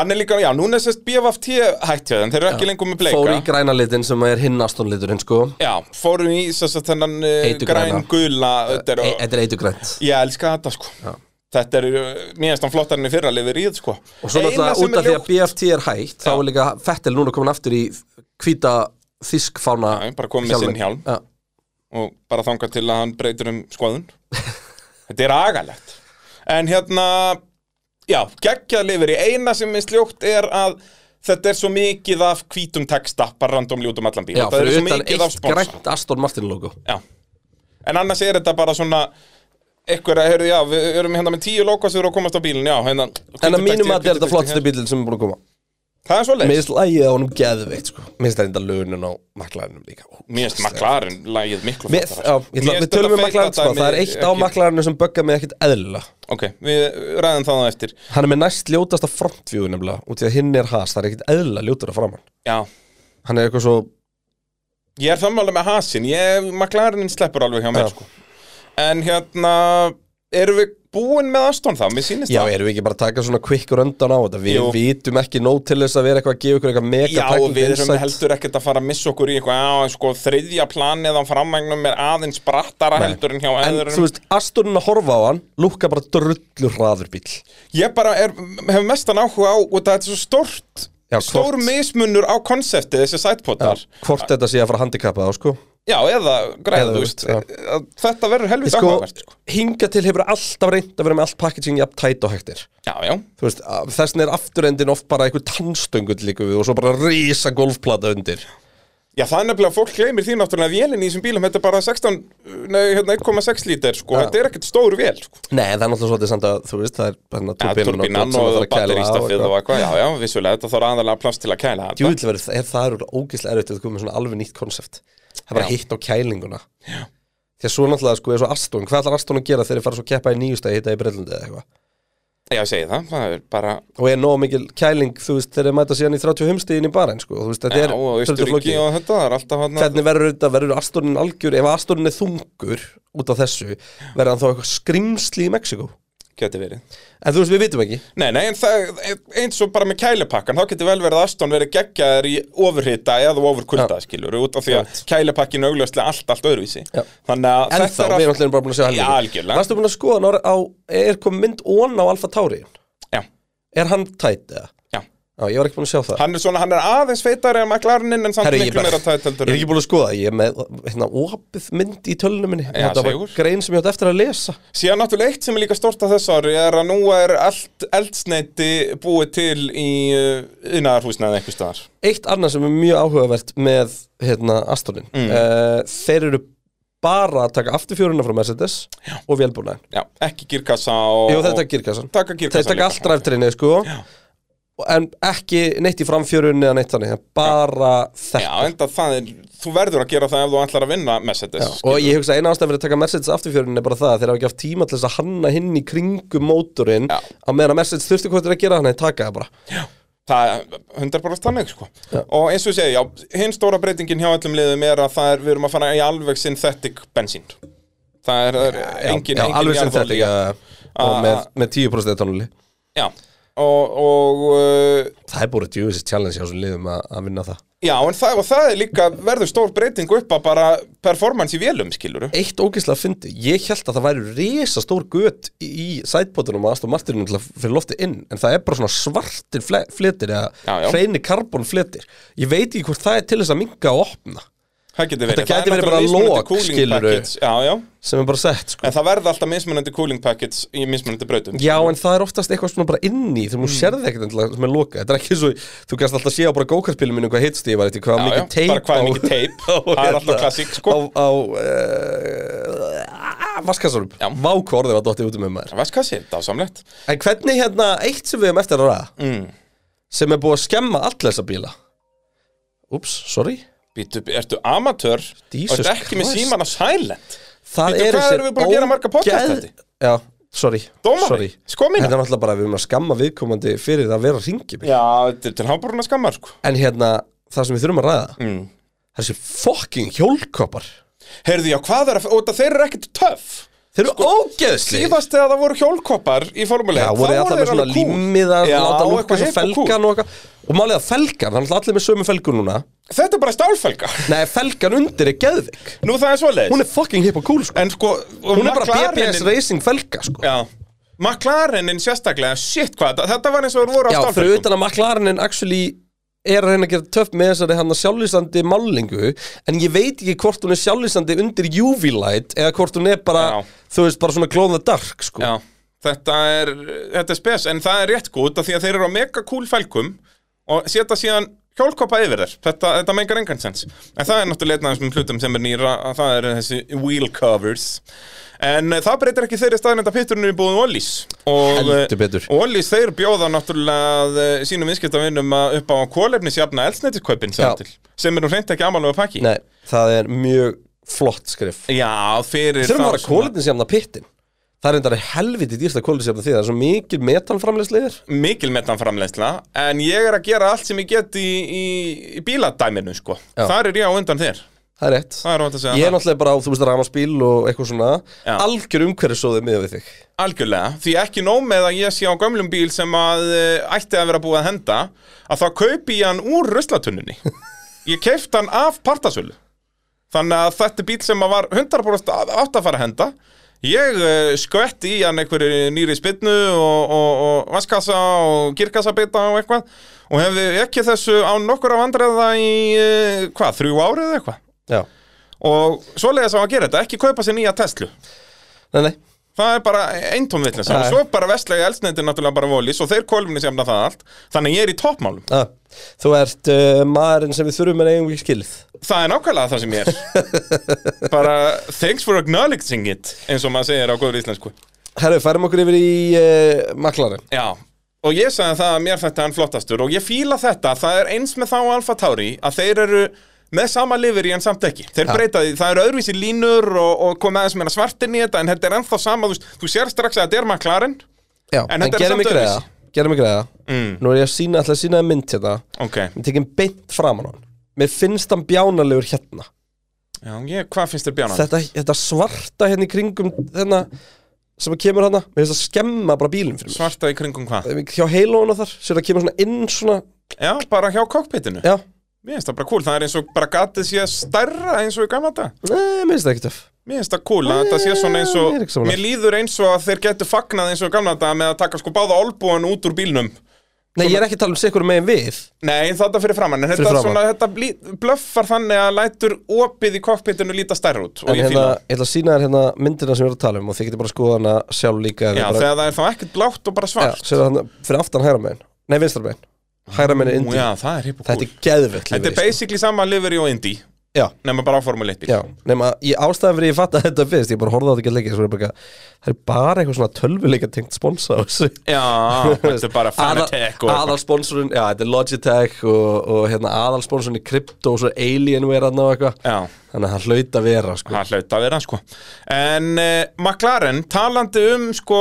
B: Hann er líka, já, núna er sérst BFFT hættið En þeir eru ekki lengur með bleika
A: fór í græna litin sem er hinn Aston liturinn sko
B: Já, fórum í sérst þennan uh,
A: Heitu græna. Eh,
B: græn gula Þetta er
A: E- þetta er eitugrænt
B: Ég elska þetta sko Þetta er, uh, mér finnst hann flottar enn í fyrra lifir í sko
A: Og svo
B: Eina
A: náttúrulega
B: sem
A: út af
B: er
A: því að
B: ljótt-
A: BFT er hægt þá er líka Fettel núna komin aftur í hvíta þísk fána
B: Já, bara komið með sinn hjálm.
A: Já.
B: og bara þangað til að hann breytir um skoðun þetta er agalegt en hérna já, geggjað lifir í eina sem er sljókt er að þetta er svo mikið af hvítum texta bara randomli út um allan bíl
A: Já,
B: það er
A: fyrir
B: svo
A: utan
B: mikið af
A: eitt
B: spons
A: grænt Aston Martin logo
B: já. en annars er þetta bara svona eitthvað að, heyrðu, já, við erum hérna með tíu lókasur og komast á bílinn, já, hérna
A: En
B: hvítur
A: að
B: texti
A: mínum að þetta er
B: hér, hvítur
A: þetta
B: texti
A: flottstu
B: hér.
A: bílinn sem er búin að koma
B: Það er svo
A: Mér
B: leið,
A: finnst lægið á honum geðveikt sko Mér finnst þetta lögunin á maklærinum líka
B: mér finnst maklarinn lægið miklu
A: Mér,
B: flottara. sko.
A: já, ég ætla,
B: Mér
A: við
B: finnst
A: tölum um maklarinn sko, það er
B: þetta feita dæmi
A: eitt á
B: ekki-
A: maklarinu sem böggar mig ekkit eðlilega
B: Ok, við ræðum það á eftir
A: Hann er með næst ljótasta frontvíu nefnilega út í að hinn er has, það er ekkit eðlilega ljótur að framann
B: Já,
A: Hann er eitthvað svo,
B: Ég er sammála með hasin, ég, McLarenin sleppur alveg hjá mér
A: Já.
B: sko. En hérna, erum við búin með Aston þá? Mér sýnist
A: já
B: það
A: erum við ekki bara að taka svona quick rundan á þetta Við
B: Jú.
A: vitum ekki nóg til þess að vera eitthvað að gefa ykkur eitthvað mega
B: Já, og
A: technical
B: við erum
A: insight.
B: heldur ekkert að fara að missa okkur í eitthvað Já, sko, þriðja planið á framægnum er aðeins brattara
A: Nei.
B: heldur en hjá
A: En
B: öðrum
A: þú veist, Astonin að horfa á hann lúkka bara drullu hraður bíl
B: Ég bara er, hef mestan áhuga á, og það er svo stort
A: Já,
B: Stór
A: hvort-
B: mismunur á konseptið, þessi sætpotar
A: Hvort þetta sé að fara handikappa þá sko
B: Já, eða
A: Eða,
B: græð, þú
A: þú
B: veist
A: veist,
B: Þetta verður helvita
A: sko,
B: áhugavert sko.
A: hinga til hefur alltaf reynd að vera með allt packaging jafn tætt og hægtir
B: Já, já,
A: Þú veist, að- þess vegna er afturendin oft bara einhver tannstöngul líka við og svo bara risa golfplata undir
B: Já, það er nefnilega að fólk gleymir því náttúrulega að vélinn í þessum bílum, þetta er bara 16, nei, hérna 1,6 líter, sko, þetta er ekkert stór vél, sko.
A: Nei, það er náttúrulega svolítið samt að, þú veist, það er bara
B: Ja, turbinan og batteristafið og eitthvað, já, já, vissulega, þetta þarf aðalega pláss til að kæla þetta.
A: Júvill verið, það- það eru ógeðslega erfitt að koma með svona alveg nýtt konsept Það er bara
B: Já.
A: hitt á kælinguna Já Því að svo náttúrulega, sko, er svo Aston, hvað ætlar Aston að gera þegar þeir fara svo að keppa í nýjustæði hitta í Breitlandi eða eitthvað
B: Já, ég segi það, það er bara,
A: Og er nóg mikil kæling, þú veist, þeir mæta síðan í 35 stíðin í barinn, sko, þú veist, þetta
B: já,
A: er
B: og
A: svolítið
B: Östuríki
A: flókið.
B: og þetta, það er alltaf hann
A: hvernig verður þetta, verður Astorin algjör ef Astorin er þungur út af þessu verður hann þá eitthvað skrimsli í Mexiko
B: geti verið.
A: en þú veist, við vitum ekki
B: Nei, nei, en það, eins og bara með kælipakkan, þá geti vel verið að Aston verið geggjaðar í ofurhita eða ofurkulda, skilur, út af því að
A: Einmitt.
B: kælipakkin augljóslega allt, allt öðruvísi.
A: Já.
B: Þannig að
A: en þá,
B: þetta
A: við erum allir bara búin að sjá
B: Já,
A: helgin
B: algjörlega.
A: varstu búin að skoða, hann á, á, er kom mynd ón á Alfa Tauri
B: Já,
A: er hann tætt eða?
B: já.
A: Já, ég var ekki búin að sjá það
B: Hann er svona, hann er aðeins feitari en McLarenin en samt
A: Herri, ég,
B: miklu
A: bara,
B: meira tætt
A: ég
B: heldur
A: er ekki búin að skoða það, ég er með hérna, opið mynd í tölunum minni
B: Já,
A: þetta var
B: segur.
A: grein sem ég átt eftir að lesa
B: Síðan náttúrulega eitt sem er líka stort að þessu ári er að nú er allt eldsneiti búið til í ynaðarhúsnaði einhver staðar
A: eitt annað sem er mjög áhugavert með hérna, Astonin mm. þeir eru bara að taka afturfjöruna frá Mercedes og vélbúnaðin
B: Já, ekki girkassa og
A: Jú, þetta
B: og-
A: er girkassan
B: Taka
A: Þeir
B: girkassa
A: taka allt ræftrinni, sko En ekki neitt í framfjörunni eða neitt þannig Bara
B: Já,
A: þetta
B: enda það er, þú verður að gera það ef þú ætlar að vinna Mercedes
A: Og ég hugsa að eina ástæðan fyrir að taka Mercedes afturfjörunni er bara það að Þeir hafa ekki haft tíma til þess að hanna hinn í kringum mótorinn
B: Já.
A: Á meðan að Mercedes þurfti hvort þeir að gera hann Þeir taka það bara
B: Það er 100% þannig sko Og eins og ég segi, já, hinn stóra breytingin hjá öllum liðum er að það er, við erum að fara í alveg synthetic bensín Það er, það er engin,
A: Já,
B: engin
A: alveg sem þetta
B: jarðolía.
A: ekki Og
B: Ah,
A: með,
B: ah.
A: með 10% tónuli
B: Já, og, og uh,
A: Það er búin að djúið sér challenge hjá svo liðum að, að vinna það
B: Já, en það, og það er líka verður stór breyting upp að bara performance í vélum, skiluru
A: Eitt ógeðslega fyndi, ég held að það væri risa stór gött í, í sætbótunum að Aston Martinum til að fyrir lofti inn en það er bara svona svartir fle- fletir
B: Já, já.
A: eða hreini karbonfletir ég veit ekki hvort það er til þess að minga og opna
B: Það getur verið
A: Þetta
B: Það er
A: gæti verið
B: náttúrulega
A: bara
B: mismunandi
A: lok,
B: cooling
A: skilurðu.
B: packets. Já, já,
A: sem er bara sett sko.
B: en það verða alltaf mismunandi cooling packets í mismunandi brautum
A: Já, en það er oftast eitthvað svona bara inni þegar þú mm. sérði ekkert endilega sem er loka þetta er ekki svo, þú kannst alltaf séð á bara gókartbílum minn hvað hitst ég var eitthvað, hvað
B: já, já,
A: mikið teip hérna,
B: bara hvað er mikið teip Það er alltaf klassík, sko
A: á, á uh, vaskassarum
B: Já.
A: vákorðið var dottið út um með maður
B: Vaskassi, dásamlegt
A: En hvernig hérna eitt sem við hefum eftir að ræða
B: Mm.
A: sem er búið að skemma all þessa bíla Úps, sorry
B: Býtu, ertu amatör
A: Jesus
B: og ertu ekki með
A: Christ.
B: síman á silent
A: Það
B: Bíddu, hvað erum við búin að gera marga podcast
A: ógeð-
B: þetta?
A: Já, sorry,
B: Dómari,
A: sorry.
B: sko mína.
A: Þetta er náttúrulega bara að við erum að skamma viðkomandi fyrir það að vera að ringi mig
B: Já, þetta er til hábúruna skammar, sko
A: En hérna, það sem við þurfum að ræða mm. Þessi fucking hjólkoppar
B: Heyrðu, já, hvað er að, og það þeir eru ekkert töff
A: Þeir
B: Sko,
A: eru ógeðsli
B: Síðast þegar það voru hjólkoppar í formule
A: Já,
B: 1,
A: voru þið
B: þá
A: alltaf með
B: þeir
A: svona
B: alveg cool.
A: límið að
B: Já,
A: láta lúka
B: eitthvað
A: svo
B: hipp og cool.
A: felgan og eitthvað Og málið að felgan, hann er allir með sömu felgun núna
B: Þetta er bara stálfelga
A: Nei, felgan undir er geðvik
B: Nú það er svoleiðis
A: Hún er fucking hip og cool sko
B: En sko
A: Hún er bara BBS Racing felga sko
B: Já McLarenin sérstaklega, shit hvað, þetta- þetta var eins og þeir voru á
A: Já, fyrir
B: stálfækum
A: utan að McLarenin actually er að reyna að gera töff með þessari hann sjálflýsandi málingu en ég veit ekki hvort hún er sjálflýsandi undir UV light eða hvort hún er bara,
B: Já.
A: þú veist, bara svona glow in the dark sko.
B: Já, þetta er, þetta er spes en það er rétt gútt af því að þeir eru á mega cool fælkum og setja síðan hjólkoppa yfir þér, þetta, þetta mengar engan sens en það er náttúrulega einn af þessum hlutum sem er nýra að það eru þessi wheel covers en eh, það breytir ekki þeirri staðnenda pitturinn er búin Ollís og
A: Heldur betur.
B: Ollís þeir bjóða náttúrulega eh, sínum viðskiptavinnum að upp á kólefnisjafna eldsnetiskaupin sem,
A: Já.
B: til, sem er nú reynt ekki amalega pakki
A: Nei, það er mjög flott skrif
B: Já, fyrir
A: Þurfum að
B: þá
A: fara
B: svona-
A: kólindinsjafna pittin Það er endara helviti dýrsta kólindinsjafna því það er svo mikil metanframleysliðir
B: mikil metanframleiðsla en ég er að gera allt sem ég get í, í, í bíladæminu sko
A: Já.
B: þar er ég á undan þér
A: Það er rétt
B: það er ótt að segja
A: Ég er
B: það
A: náttúrulega bara á, þú veist, ramaspíl og eitthvað svona
B: Já.
A: Algjör umhverfisóðið miða við þig
B: algjörlega því ekki nóg með að ég sé á gömlum bíl sem að eh, ætti að vera búið að henda að þá kaupi ég hann úr ruslatunnunni ég keifti hann af partasölu þannig að þetta er bíl sem að var 100% að- átt að fara að henda ég uh, skvetti í hann einhverju nýri spynnu og, og, og vaskassa og girkassabita og eitthvað og hefði ekki þessu á nokkur af andreða í uh, hvað, þrjú árið eða eitthvað
A: Já,
B: og svoleiðis á að gera þetta, ekki kaupa sér nýja Tesla
A: nei, nei
B: Það er bara eintóm vitlis og
A: Já.
B: svo bara vestlega elsneiti náttúrulega bara volís og þeir kolumni semna það allt þannig að ég er í toppmálum.
A: ah, Þú ert uh, maðurinn sem við þurfum en eigum ekki skilð
B: Það er nákvæmlega það sem ég er. bara thanks for acknowledging it eins og maður segir á góður íslensku.
A: Herru, færum okkur yfir í uh, maklaren
B: Já. Og ég sagði það að mér þetta er hann flottastur og ég fíla þetta, það er eins með þá Alfa Tauri að þeir eru með sama lifir í en samt ekki. Þeir breyta því, það eru öðruvísi línur og, og komið aðeins meira svartin í þetta en þetta er ennþá sama, þú, veist, þú sér strax að þetta er McLaren.
A: Já,
B: En þetta er
A: gerum
B: samt
A: mig greiða
B: öðruvísi. Mm.
A: Gerum mig greiða Nú er ég að sína, ætla að sína mynd hérna
B: Ok,
A: Við tekjum beint framan á hann Mér finnst hann bjánalegur hérna
B: já, ég, hvað finnst þér bjánan?
A: þetta, þetta svarta hérna í kringum þennan sem kemur hana mér finnst að skemma bara bílinn fyrir mér
B: Svarta í kringum hvað?
A: hjá heilóna þar, sér það kemur svona inn svona,
B: Já, bara hjá kokpitinu
A: já,
B: Mér finnst það bara cool, það er eins og bara gatið sé stærra eins og í gamla þetta
A: neða, mér finnst það ekki töf
B: Mér finnst það cool að þetta sé svona eins
A: Ég er ekki
B: og
A: sammála.
B: Mér líður eins og að þeir getur fagnað eins og í gamla þetta með að taka sko báða olbúan út úr bílnum
A: nei, ég er ekki að tala um sikkur megin við
B: Nei, þetta fyrir framann, en þetta,
A: Fyrir
B: fyrir
A: framan.
B: Svona, þetta blí- blöffar þannig að lætur opið í kokpitinu líta stærra út og
A: en
B: ég
A: hérna,
B: fíla það.
A: ég ætla að sína þér hérna myndina sem ég er að tala um og þið getur bara að skoða hana sjálf líka ef
B: Já,
A: þið hérna bara,
B: þegar það er þá ekkert blátt og bara
A: já,
B: svart
A: sér það hana, fyrir aftan hægra megin, nei, vinstra megin hægra megin er
B: Ú,
A: indi,
B: Já, það er hippo
A: þetta
B: cool
A: er geðvöld
B: Þetta er basically sama livery og indie
A: já,
B: Nefna bara áformuleitt bíl
A: já, nema, ég ástæðan fyrir ég fatt að þetta fyrst, ég bara horfði á þetta ekki leikið svo er ég bara, það er bara eitthvað svona tölvuleika tengt sponsa á þessu
B: Já, þetta er bara Fanatec og eitthvað.
A: aðalsponsorinn, já, þetta er Logitech og, og hérna aðalsponsorinn í krypto og svo Alienware hann og eitthvað
B: Já
A: þannig að hann hlaut að vera, sko
B: Það hlaut að vera sko En uh, McLaren talandi um sko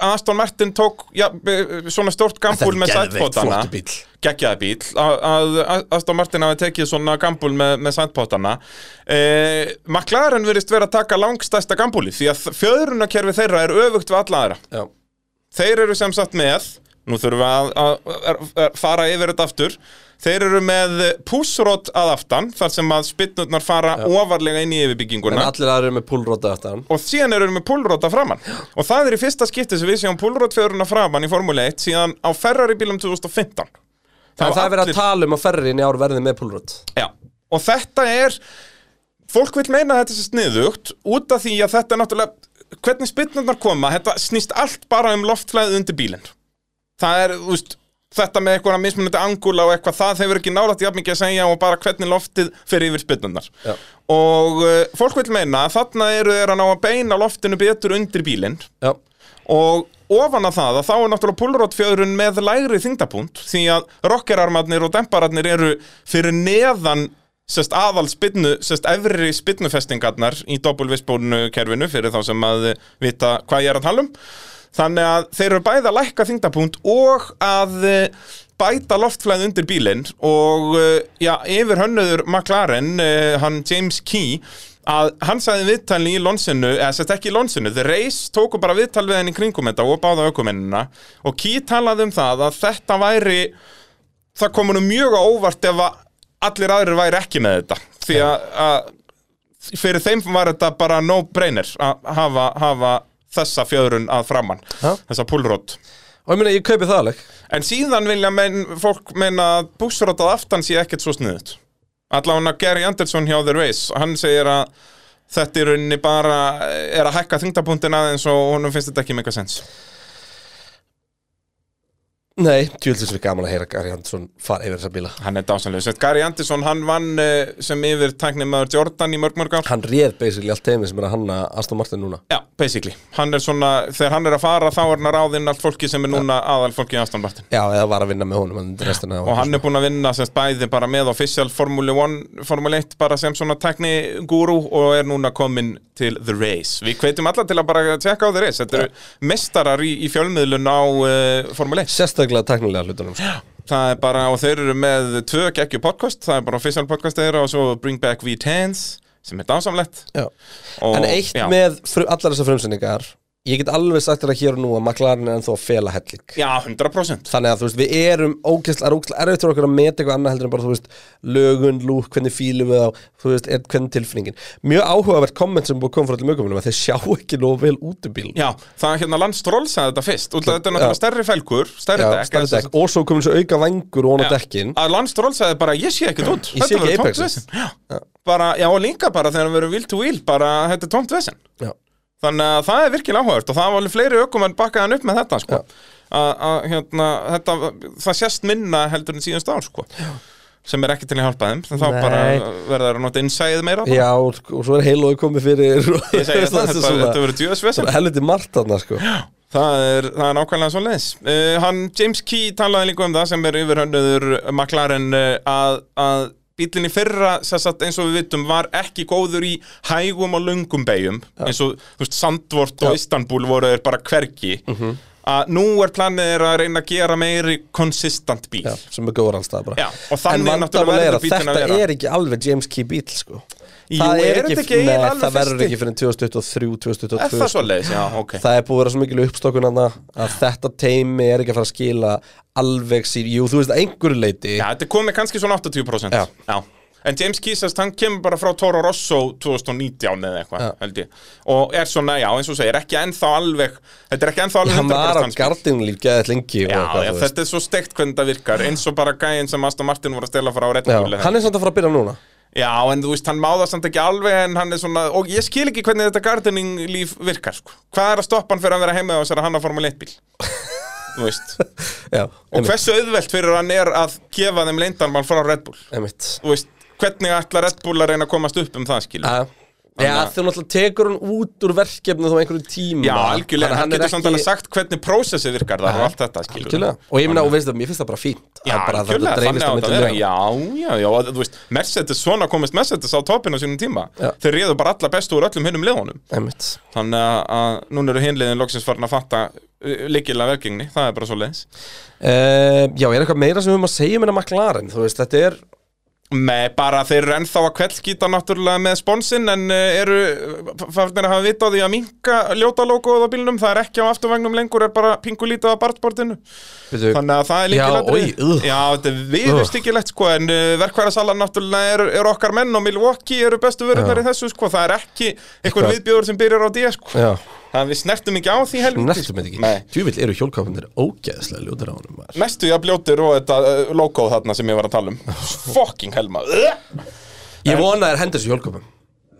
B: Aston Martin tók já, eh, svona stórt gambúl með sætpótana
A: flottu bíl
B: geggjaði bíl að- að að Aston Martin hafi tekið svona gambúl með, með sætpótana eh, McLaren virðist vera að taka langstæsta gambúli því að fjöðrunakerfi þeirra er öfugt við alla aðra
A: já.
B: þeir eru sem sagt með nú þurfum við að, að, að, að fara yfir þetta aftur þeir eru með púsrót að aftan þar sem að spinnurnar fara ofarlega inn í
A: en
B: yfirbygginguna
A: allir aðra eru með púlróta aftan
B: og síðan eru við með púlróta framann og það er í fyrsta skipti sem við séum púlrótfjöruna framann í Formule 1 síðan á Ferrari bílum 2015
A: það, það er verið að
B: allir-
A: tala um að ferrin í ár verði með púlrót
B: Já. og þetta er fólk vil meina að þetta sé sniðugt út af því að þetta er náttúrulega hvernig spynnarnar koma, þetta snýst allt bara um loftflæðið undir bílinn það er, þú veist, þetta með eitthvað mismunandi angula og eitthvað, það hefur ekki nálægt jafn mikið að segja og bara hvernig loftið fyrir yfir spynnarnar
A: Já.
B: og uh, fólk vil meina að þarna eru þeir að ná að beina loftinu betur undir bílinn
A: já,
B: og ofan að það að þá er náttúrulega púlrótfjörun með lægri þingdapunkt því að rockerarmarnir og dempararnir eru fyrir neðan sest aðal spinnu, sest efri spinnufestingarnar í doppulvisbónu kerfinu fyrir þá sem að vita hvað ég er að tala um þannig að þeir eru bæði að lækka þingdapunkt og að eh, bæta loftflæð undir bílinn og eh, já, yfir hönnuður McLaren, eh, hann James Key að hann sagði viðtalni í lonsinu, eða sett ekki í lonsinu, The Race tóku bara viðtal við henni kringum þetta og báða aukumennina og Key talaði um það að þetta væri það kom hennu mjög á óvart ef að allir aðrir væri ekki með þetta því að, að fyrir þeim var þetta bara no brainer að hafa, hafa þessa fjöðrun að framann
A: Ha?
B: þessa púlrótt
A: Og ég meina, ég kaupi það alveg
B: en síðan vilja menn, fólk meina að búksrótað aftan sé ekkert svo sniðut allavega Gary Anderson hjá The Race hann segir að þetta í rauninni bara er að hækka þingdapunktin aðeins og honum finnst þetta ekki mega sens
A: Nei, tjúlsins við gaman að heyra Gary Hansson fara yfir þessa bíla
B: hann er dásanlega, Sett Gary Anderson hann vann eh, sem yfir tæknimaður Jordan í mörg mörg ár
A: Hann réð basically allt teimi sem er að hanna Aston Martin núna
B: Já, basically, hann er svona, þegar hann er að fara þá er hann að ráðinn allt fólki sem er núna aðal fólki í Aston Martin
A: Já, eða var að vinna með honum restina,
B: og hann er búinn að vinna semst bæði bara með official Formule 1, Formule 1 bara sem svona tekni guru og er núna kominn til The Race. Við hvetjum alla til að bara tjekka á The Race, þetta eru mestarar í, í fjölmiðlun á uh, Formule 1
A: Sérstaklega teknilega hlutunum sko.
B: það er bara, og þeir eru með tvö geggju podcast, það er bara official podcast þeirra og svo Bring Back V10s sem er dásamlegt
A: Já.
B: og,
A: En eitt
B: já.
A: með fru, allar þessar frumsendingar Ég get alveg sagt þér að hér og nú að McLaren er ennþá að fela helling
B: Já, 100%
A: Þannig að þú veist, við erum ógæslega, ógæslega erfitt fyrir okkur að meta eitthvað annað heldur en bara, þú veist, lögun, lúk, hvernig fílum við á, þú veist, er, hvernig tilfinningin. Mjög áhugavert komment sem búið að koma frá allir mögumunum að þeir sjá ekki nóg vel út um bíl.
B: Já, það er hérna Landstról sagði þetta fyrst út af þetta er náttúrulega
A: Já.
B: stærri fælgur, stærri dekk
A: stærri
B: eða sem
A: dekk. Og svo komin svo auka vangur og á
B: Já.
A: dekkin.
B: að Landstról sagði bara ég sé ekkert út
A: Ég sé ekki
B: Þetta verður tómt
A: Apexið.
B: vesen. Já. bara, já og líka bara þegar við erum wheel to wheel bara þetta er tómt vesen
A: Já.
B: þannig að það er virkilega áhugavert og það var alveg fleiri ökum en bakkaðan upp með þetta sko. að, að hérna, þetta, það sést minna heldur en síðust ár sko. sem er ekki til að hjálpa þeim en þá
A: Nei.
B: bara verður að nota innsæðið meira bara.
A: Já, og, og svo er heilói komið fyrir.
B: ég segi þetta,
A: er
B: þetta,
A: svona-
B: þetta verður djöðsvesen
A: svona helviti margt þarna, sko.
B: Það er, það er nákvæmlega svo leiðis uh, Hann, James Key talaði líka um það sem er yfirhönduður McLaren uh, að, að bílinni fyrra sem sagt, eins og við vitum var ekki góður í hægum og lungum beigum eins og þú veist, Sandvort og
A: Já. Mhm.
B: Istanbul voru þeir bara hvergi að nú er planið er að reyna að gera meiri konsistant bíl
A: Já, sem er góður alls það bara.
B: Já, og þannig
A: En
B: náttúrulega
A: vandamál er
B: verður
A: að
B: bíllinn að
A: þetta
B: vera.
A: er ekki alveg James Key bíl, sko.
B: Jú,
A: Það
B: er þetta ekki
A: nei,
B: eiginlega
A: það
B: alveg
A: verður
B: fyrsti?
A: ekki fyrir 2023, 2022.
B: Er það
A: sko.
B: svo leiðis? Já, ok
A: það er búið að vera svo mikil uppstokkun hana að þetta teimi er ekki að fara að skila alveg sír, jú þú veist að einhverju leiti
B: Já, þetta komið kannski svona 80%
A: Já.
B: En James Kisast, hann kemur bara frá Toro Rosso 2019 eða eitthvað,
A: Já.
B: held ég Og er svona, já, eins og segir, ekki ennþá alveg Þetta er ekki ennþá alveg
A: hann
B: 100%
A: var á
B: hans bíll.
A: gardinulíf geðið lengi og
B: Já,
A: eitthvað,
B: já
A: þú veist.
B: þetta er svo steikt hvernig þetta virkar Eins og bara gæinn sem Aston Martin voru að stela frá Red Bull
A: já,
B: eða-
A: hann er samt að fara að byrja núna
B: Já, en þú veist, hann má það samt ekki alveg En hann er svona, og ég skil ekki hvernig þetta gardening líf virkar sko. Hvað er að stoppa hann fyrir að vera heima og sér að hann að formule 1 bíl? þú veist
A: já,
B: Og hversu auðvelt fyrir hann er að gefa þeim leindarmál frá Red Bull
A: emitt
B: þú veist, hvernig ætla Red Bull að reyna að komast upp um það, skilur?
A: já,
B: Þannig að-
A: þú náttúrulega tekur hann út úr verkefni þá einhverju tíma
B: Já, algjörlega,
A: Þannig að
B: hann, getur
A: er
B: samt alveg sagt hvernig prósessi virkar það
A: Nei,
B: og allt þetta, skilur
A: algjörlega. og ég meina, og veistu það, mér finnst það bara fínt
B: Já,
A: Að bara að þetta
B: algjörlega, þannig
A: dreifist á
B: á þetta
A: milli
B: að vera
A: liða.
B: Já, já, já, og þú veist, Mercedes, svona komist Mercedes á toppinu á sínum tíma
A: Já.
B: Þeir réðu bara alla bestu úr öllum hinnum liðunum
A: Einmitt.
B: Þannig að, að núna eru hinliðin loksins farin að fatta líkilega verkingni, það er bara svo leiðis
A: Eh, já, er eitthvað meira sem við höfum að segja meina McLaren, þú veist, þetta er
B: Nei, bara þeir eru ennþá að kveldskýta náttúrulega með sponsinn en uh, eru, farnir að hafa vita á því að minka ljóta logoð á bílnum, það er ekki á afturvagnum lengur, er bara pingulítið á bartbortinu
A: Byrju,
B: Þannig að það er
A: Eh, oj, ugh.
B: líkilættrið Já, þetta er viðustykilegt sko En uh, verkværasalan náttúrulega er, er okkar menn Og Milwaukee eru bestu vörunar í þessu sko Það er ekki einhver
A: Eitthvað.
B: viðbjóður sem byrjar á DS sko
A: Já.
B: Þannig að við snertum ekki á því helviti
A: Næstum þetta
B: Nei.
A: ekki Tjúvill eru hjólkápunir ógeðslega ljótur á honum maður.
B: Næstu ég að bljótir og þetta uh, logo þarna sem ég var að tala um Fucking helma
A: Ég vona að þær hendur þessu hjólkápum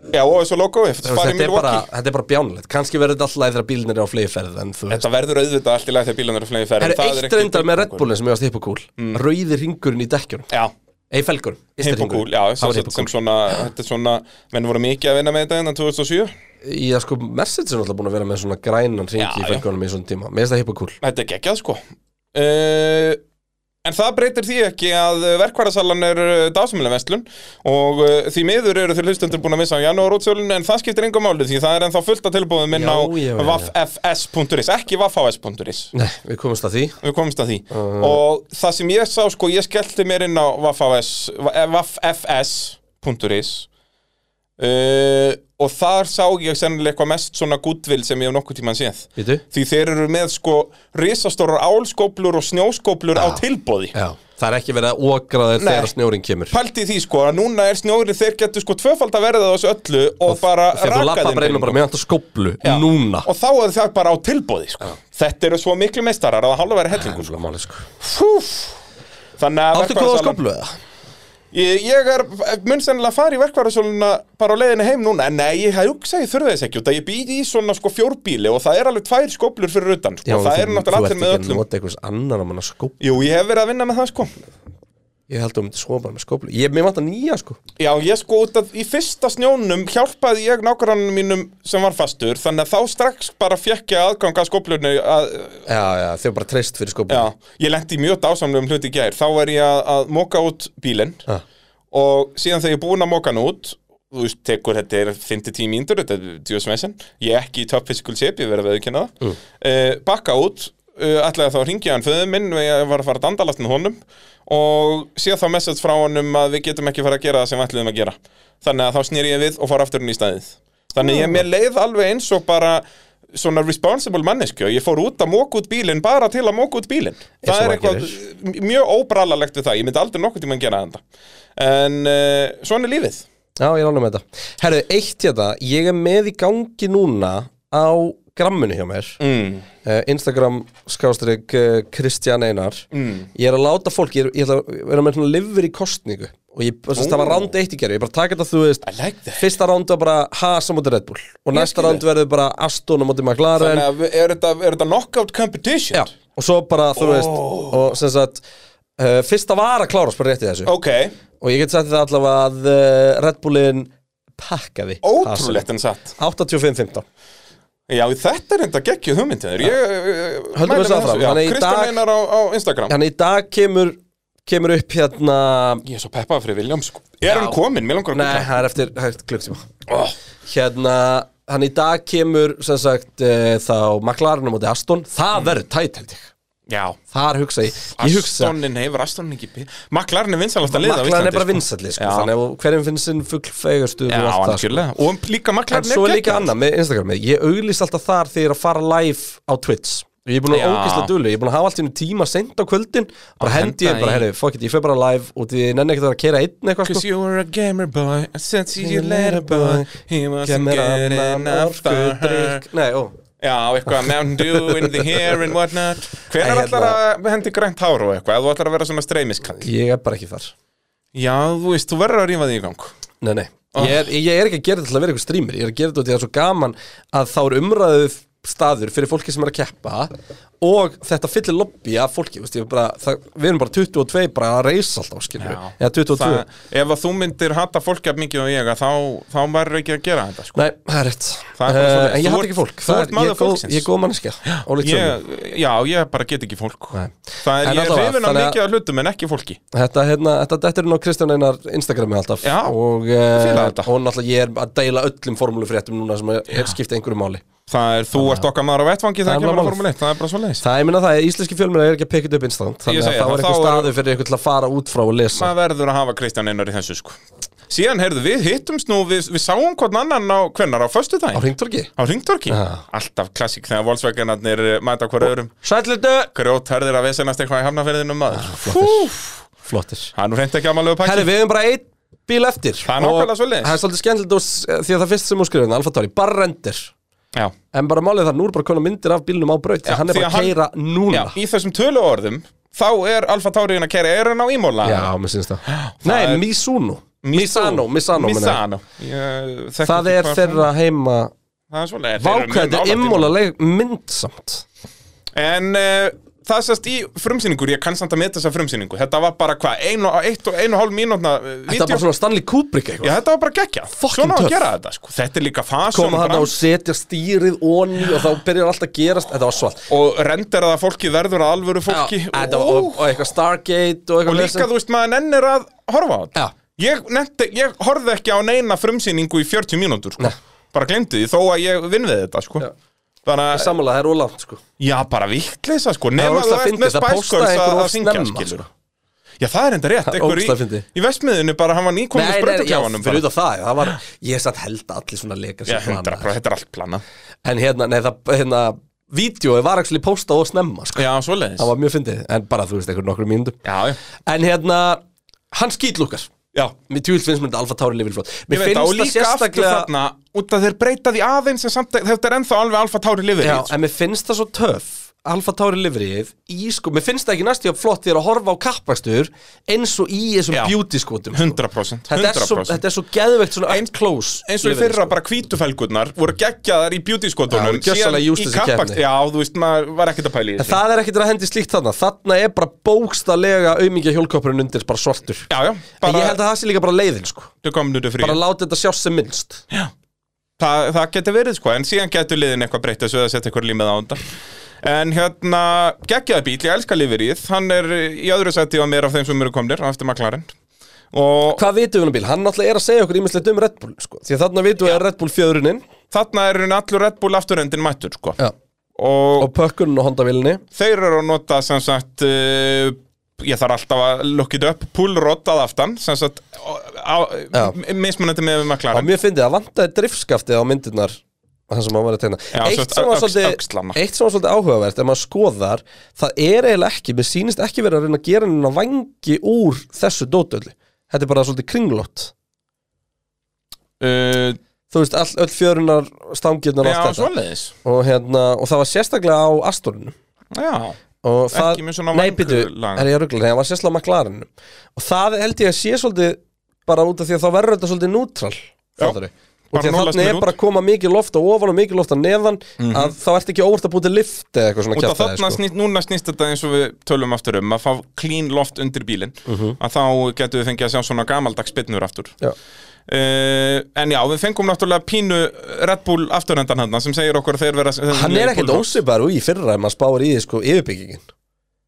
B: Já, og þessu logoi Fari
A: þetta er, bara,
B: Milwaukee
A: þetta er bara bjánulegt Kanski verður þetta alltaf læð þegar bílnir eru á fleifferð En þú veist
B: Þetta verður auðvitað allt í lagi þegar bílarnir eru flegið
A: Það
B: ferð
A: eru eitt reyndar með Red Bullin sem ég varst hippokúl mm. Rauði ringurinn í dekkjunum
B: Já,
A: Ei, felgurinn ysti
B: hippokúl,
A: hringurinn.
B: já,
A: Það
B: sem,
A: var
B: sagt sem
A: hippokúl
B: svona, þetta er svona, menn voru mikið að vinna með þetta hérna innan 2007
A: Já, sko, Mercedes er alltaf búin að vera með svona grænan
B: Já,
A: ringi í
B: já.
A: felgurnum í svona tíma Mér finnst það hippokúl
B: Þetta er geggjað sko uh, En það breytir því ekki að verkværasalan er dásamlega vestlun og uh, því miður eru þeir hlustendur búin að missa á janúar útsölun en það skiptir engum máli því það er ennþá fullt að tilbúðum inn
A: Já,
B: á
A: já, já, já.
B: vaffs.is ekki vaffs.is
A: Nei, við komumst að því
B: við komumst að því og það sem ég sá sko, ég skellti mér inn á eh, vaffs.is uh, og þar sá ég sennilega eitthvað mest svona goodwill sem ég hef nokkuð tíman séð
A: Vítu?
B: Því þeir eru með sko risastórar álskóplur og snjóskóplur á tilbóði
A: Já Það er ekki verið að okra þeir
B: Nei.
A: þegar snjórin kemur
B: Paldi því sko að núna er snjórið þeir getur sko tvöfald að verða þessu öllu og bara
A: Þegar þú lappa
B: rakaðinn
A: breynum bara með alltaf skóplu Núna
B: og þá er það bara á tilbóði sko. þetta eru svo miklu meistarar að það hálfa verið hellingu sko.
A: Gamla máli, sko.
B: Fúf. þannig að
A: Áttu góða
B: verkfærasalan-
A: skóplu eða?
B: ég, ég er mun sennilega að fara í verkvarðarsóluna bara á leiðinni heim núna en nei, ég hugsa ég þurfi þess ekki út að ég býði í svona sko fjórbíli og það er alveg tvær skóplur fyrir utan sko. og það
A: þú-
B: eru náttúrulega allir með
A: Þú ert ekki að
B: öllum
A: nota einhvers annan að manna skóp
B: Jú, ég hef verið að vinna með það sko
A: Ég held að þú myndir svo bara með skóplu Ég mér vant að nýja sko
B: Já, ég sko út að í fyrsta snjónum hjálpaði ég nákvæmannum mínum sem var fastur þannig að þá strax bara fekk ég aðgang að skóplunni að,
A: Já, já, þau eru bara treyst fyrir skóplu
B: já, ég lendi í mjög dásamlegum hluti í gær þá var ég að, að móka út bílinn
A: Já.
B: og síðan þegar ég er búinn að móka hann út þú veist, tekur þetta er 5-10 mínútur, þetta er djóðsmessin ég er ekki í top physical shape, ég verið að viðkynna það mm. bakka út, uh, ætlaði þá að ringja hann föðu minn, ég var að fara að dandalast með honum og síðan þá message frá honum að við getum ekki fara að gera það sem við ætluðum að gera þannig að þá snýr ég við og fara aftur inn í staðið þannig
A: Mm.
B: ég mér leið alveg eins og bara svona responsible mannesku ég fór út að móka út bílinn bara til að móka út bílinn
A: Eins
B: það
A: og
B: er
A: maður
B: eitthvað m- mjög óbralalegt við það, ég myndi aldrei nokkuð tíma að gera þetta en uh, svona er lífið
A: Já, ég rána með þetta Herðu, eitt hérna, ég er með í gangi núna á gramminu hjá mér
B: mm.
A: Eh, Instagram skástrík eh, Kristján Einar
B: Mm.
A: Ég er að láta fólk, ég er, ég er að vera með svona livur í kostningu og ég, þess,
B: Ó.
A: það var ránd eitt í gerðu, ég bara taka þetta þú veist
B: I like that.
A: Fyrsta ránd var bara Haas á móti Red Bull og næsta
B: skil
A: ránd verður bara Aston á móti McLaren
B: þannig að við- er þetta, er þetta knockout competition
A: Já, og svo bara, þú veist og sem sagt, uh, fyrsta var að klárast bara rétt í þessu
B: ok,
A: og ég get sagt þetta allavega að uh, Red Bullin pakkaði
B: ótrúlegt en satt
A: 85-15
B: já, þetta er enda geggjuð hugmyndinir ég eh,
A: Höldum
B: mæli
A: þessu
B: með
A: áfram.
B: þessu, já.
A: Þannig í
B: Kristján
A: dag-
B: Einar á, á Instagram
A: Þannig í dag kemur, kemur upp hérna
B: ég er svo peppað fyrir Viljám sko. er hann komin, mér langar
A: Nei,
B: að
A: það er eftir hægt klukktíma
B: koma oh.
A: Hérna, hann í dag kemur sem sagt uh, þá McLaren á móti Aston
B: Mm.
A: Það verður tætt held ég
B: já,
A: Þar hugsa ég, ég hugsa
B: Astonin hefur Astonin ekki byrð maklarinn er vinsalast að liða
A: McLaren er bara vinsalli sko,
B: Já.
A: þannig að hverjum finnst sinn fullfegastu
B: já, algjörlega, og líka
A: sko. En
B: maklarinn
A: svo er líka
B: geggjaður.
A: annað með Instagramið Ég auglýst alltaf þar þegar ég er að fara live á Twitch Ég er búin að
B: Já.
A: vera ógeðslega dugleg, Ég er búin að hafa allt í einu tíma sent á kvöldin Bara hendi ég
B: henda
A: bara,
B: í.
A: herri, fuck it, ég fer bara live Og því ég nenni ekkert að vera að keira einn eitthvað
B: Cause
A: sko.
B: you were a gamer boy I sent you your letter boy He wasn't good enough for her
A: Nei, ó
B: Já, eitthvað Mountain Dew in the hair and whatnot Hvenær
A: Æ, hérna.
B: ætlar að hendi grænt hár og eitthvað? Ef Þú ætlar að vera svona streymiskall
A: Ég er bara ekki þar
B: Já, þú veist, þú verður að rífa því í gang
A: Nei, nei
B: Oh.
A: Ég er, ég er ekki að gera þetta til að vera eitthvað streamer Ég er að gera þetta til að það er svo gaman Að þá er umræðu staður fyrir fólki sem er að keppa Og þetta fyllir lobby af fólki veist, ég er bara, það, Við erum bara 22 bara að reisa alltaf skilur
B: Já.
A: Eða 22
B: Það, Ef að þú myndir hata fólk af mikið og ég að þá, þá verður ekki að gera þetta sko.
A: Nei, það er rétt
B: Það er
A: Eh,
B: bara
A: En
B: svoleiðis.
A: ég
B: Þú
A: hatt
B: ert-
A: ekki fólk
B: þú
A: Það
B: ert
A: er, ég,
B: maður
A: er góð,
B: fólksins.
A: ég er góð manneskja Ólíkt sömu
B: ég, Já, ég bara get ekki fólk
A: Nei.
B: Það
A: En
B: er, ég er
A: allavega,
B: hrifin af
A: þannig að-
B: mikið af hlutum en ekki fólki
A: Þetta, hérna, þetta, þetta er nú Kristján Einar Instagrami alltaf
B: Já,
A: og,
B: fíla
A: uh,
B: þetta.
A: og náttúrulega ég er að deila öllum formúlufréttum núna sem er skipta einhverju máli
B: Það er, þú ert okkar maður á vettvangi
A: Það er
B: þegar kemur
A: bara
B: að
A: málið.
B: Formule 1, það er bara svo leiðis
A: Það er minna það, íslenski fjölmur er ekki að pekja þetta upp instant
B: Ég
A: Þannig að
B: segi
A: það
B: það,
A: var einhver
B: þá er-
A: staður fyrir ykkur til að fara út frá og lesa
B: maður verður að hafa Kristján Einar í þessu sko síðan, heyrðu, við hittumst nú við, við sáum hvern annan á, hvernar,
A: Á
B: á föstudaginn
A: hringtorki
B: á Ringtorki,
A: Já.
B: alltaf klassík þegar Volkswagenarnir eh, mæta hver öðrum
A: Sællutu
B: grjótherðir að vesenast eitthvað í hafnaferðinum maður
A: Flottir Flottir
B: það er nú reynd ekki amalegu
A: Herri,
B: pakki
A: við hefum bara einn bíl eftir
B: Það er
A: Og
B: nákvæmlega svoleiðis.
A: Það er svolítið skemmtilegt og s- því að það fyrst sem hún skrifin Alfa Tóri, bara rendir
B: já.
A: En bara málið það, nú er bara konar myndir af bílnum á braut
B: Já,
A: Þannig hann er
B: því
A: bara
B: að
A: að keira núna
B: já, í þessum tölu orðum þá er Alfa Tauriðin að kæra erun á Ímóla
A: Já, mér syns það Nei,
B: er-
A: Misuno Misano, Misano, Misano.
B: Misano Ég þekki
A: Það
B: ekki
A: er
B: hvað-
A: þeirra heima
B: Það er svoleiðis. Þeir eru mjög
A: Vákvæði,
B: nálægt Imola.
A: immóla myndsamt
B: En uh, það sést í frumsýningur, ég kann samt að meta þessa frumsýningu Þetta var bara hvað, ein og, eitt og, ein og hálf mínútna eh,
A: Þetta er bara svona Stanley Kubrick eitthvað
B: Já, þetta var bara gekkja
A: Fucking
B: Svona á að
A: töff.
B: gera þetta, sko Þetta er líka fasjón
A: koma hann á og setja stýrið onni og þá byrjar allt að gerast, þetta var svalt
B: Og render að fólki verður að alvöru fólki
A: Þetta var- og, og eitthvað Stargate og
B: og
A: eitthvað
B: líka, þú veist, maður nennir að horfa á þetta
A: Já.
B: Ég, nefnti, ég horfði ekki á neina frumsýningu í 40 mínútur, sko
A: Nei.
B: Bara glemdi því, þó að ég vinn við þetta, sko
A: Já.
B: Þannig að,
A: Samanlega, það er ólangt sko
B: já, bara vitleisa, sko
A: Það
B: Nefn
A: var
B: að þú
A: ógeðslega
B: ert
A: fyndið,
B: með
A: það
B: Spice
A: postaði
B: Girls að
A: einhver
B: að
A: of
B: syngja,
A: snemma, sko.
B: skilur Já, það er enda rétt,
A: Það er
B: einhver
A: ógeðslega
B: í,
A: fyndið.
B: í vestmiðinu bara, hann var nýkomið
A: já,
B: sprautuklefanum
A: fyrir út af það, já, það var Ég satt held að allir svona leikar
B: Já,
A: sem
B: 100,
A: planaðir.
B: þetta er allt planað
A: En hérna, nei, það, hérna vídeói var ekki postað og snemma sko.
B: Já, svoleiðis
A: það var mjög fyndið, en bara þú veist, einhver nokkur mínúndum
B: Já, já,
A: en hérna, hann skýtlúkar
B: já
A: mér tjúvilt finnst mér þetta Alfa Tauri lifir flott
B: Ég
A: mér
B: veit
A: finnst
B: það, og
A: það
B: líka aftur
A: sérstaklega
B: þarna Út að þeir breyta því aðeins en samt, að- Þetta er ennþá alveg alfa tári lifir
A: já, en mér finnst það svo töff Alfa Tauri livrið í sko, mér finnst það ekki næstu jafn flott þegar að horfa á kappakstur eins og í þessum
B: Já.
A: beauty skotum sko.
B: 100%, 100%.
A: þetta er, svo, þetta er svo geðveikt svona
B: Eins-
A: up close sko.
B: eins og í
A: livery,
B: fyrra bara hvítufælgurnar voru geggjaðar í
A: Já,
B: beautyskotunum
A: voru gjörsamlega useless í keppni.
B: já, þú veist, maður var ekkert að pæla í
A: En
B: þessu
A: það er ekkert að hendi slíkt þarna Þarna er bara bókstallega aumingja hjólkoppurinn undir bara svartur
B: já, já,
A: En
B: bara
A: ég held að það sé líka bara leiðin sko
B: þau komnur þau frí
A: Bara láta þetta sjást sem minnst
B: það, það getur verið, sko, en síðan getur liðin eitthvað breytt þessu að setja eitthvað límið á þetta en hérna, geggjaði bíl, ég elska lifiríð hann er í öðru seti á mér af þeim sem eru komnir, á eftir maklarinn og
A: Hvað vitum við um bíl? Hann náttúrulega er að segja okkur ímislegt um Red Bull sko. Því að þarna vitum við að Red Bull fjöðrunin
B: þarna er hún allur Red Bull afturendin mættur, sko
A: Já.
B: og
A: Og pökkunum og hondavílinni
B: þeir eru að nota sem sagt uh, ég þarf alltaf að look it up pullrod að aftan sem sagt á,
A: Já.
B: á, m- mismunandi með við
A: Og
B: maklarinn
A: mér fyndið að vantaði driftskaftið á myndirnar Það sem hann var að tegna
B: Já, sem
A: Eitt
B: sagt,
A: sem var
B: öx-
A: svolítið
B: öxlana.
A: eitt sem var svolítið áhugavert Ef maður skoðar Það er eiginlega ekki Mér sýnist ekki verið að reyna að gera hennar vangi úr þessu dótölu Þetta er bara svolítið kringlótt
B: uh,
A: þú veist, all, öll fjörunar stangirnar og
B: Eh, já,
A: allt þetta
B: svoleiðis
A: og, hérna, og það var sérstaklega á Astorinu
B: já,
A: og það,
B: Ekki með svona
A: nei,
B: vangur-
A: býtu,
B: lag.
A: er ég ruggla það var sérstaklega á McLarenu og það held ég að sé svolítið bara út af því að þá verður þetta svolítið nútral fattari og
B: bara
A: því að
B: núllast
A: þannig er
B: mér út. Mhm.
A: bara að koma mikið loft á ofan og mikið loft á neðan að þá ert ekki óvart að búið til lift eða eitthvað svona
B: út af
A: kjaftaði, sko.
B: þarna snýst, núna snýst þetta eins og við tölum aftur um að fá clean loft undir bílinn
A: Mhm.
B: að þá getum við fengið að sjá svona gamaldags spynnur aftur
A: Já.
B: Uh, en já, við fengum náttúrulega pínu Red Bull afturhendan hann sem segir okkur að þeir vera
A: hann er ekkert ósipar úr í fyrra ef maður spáir í því sko yfirbyggingin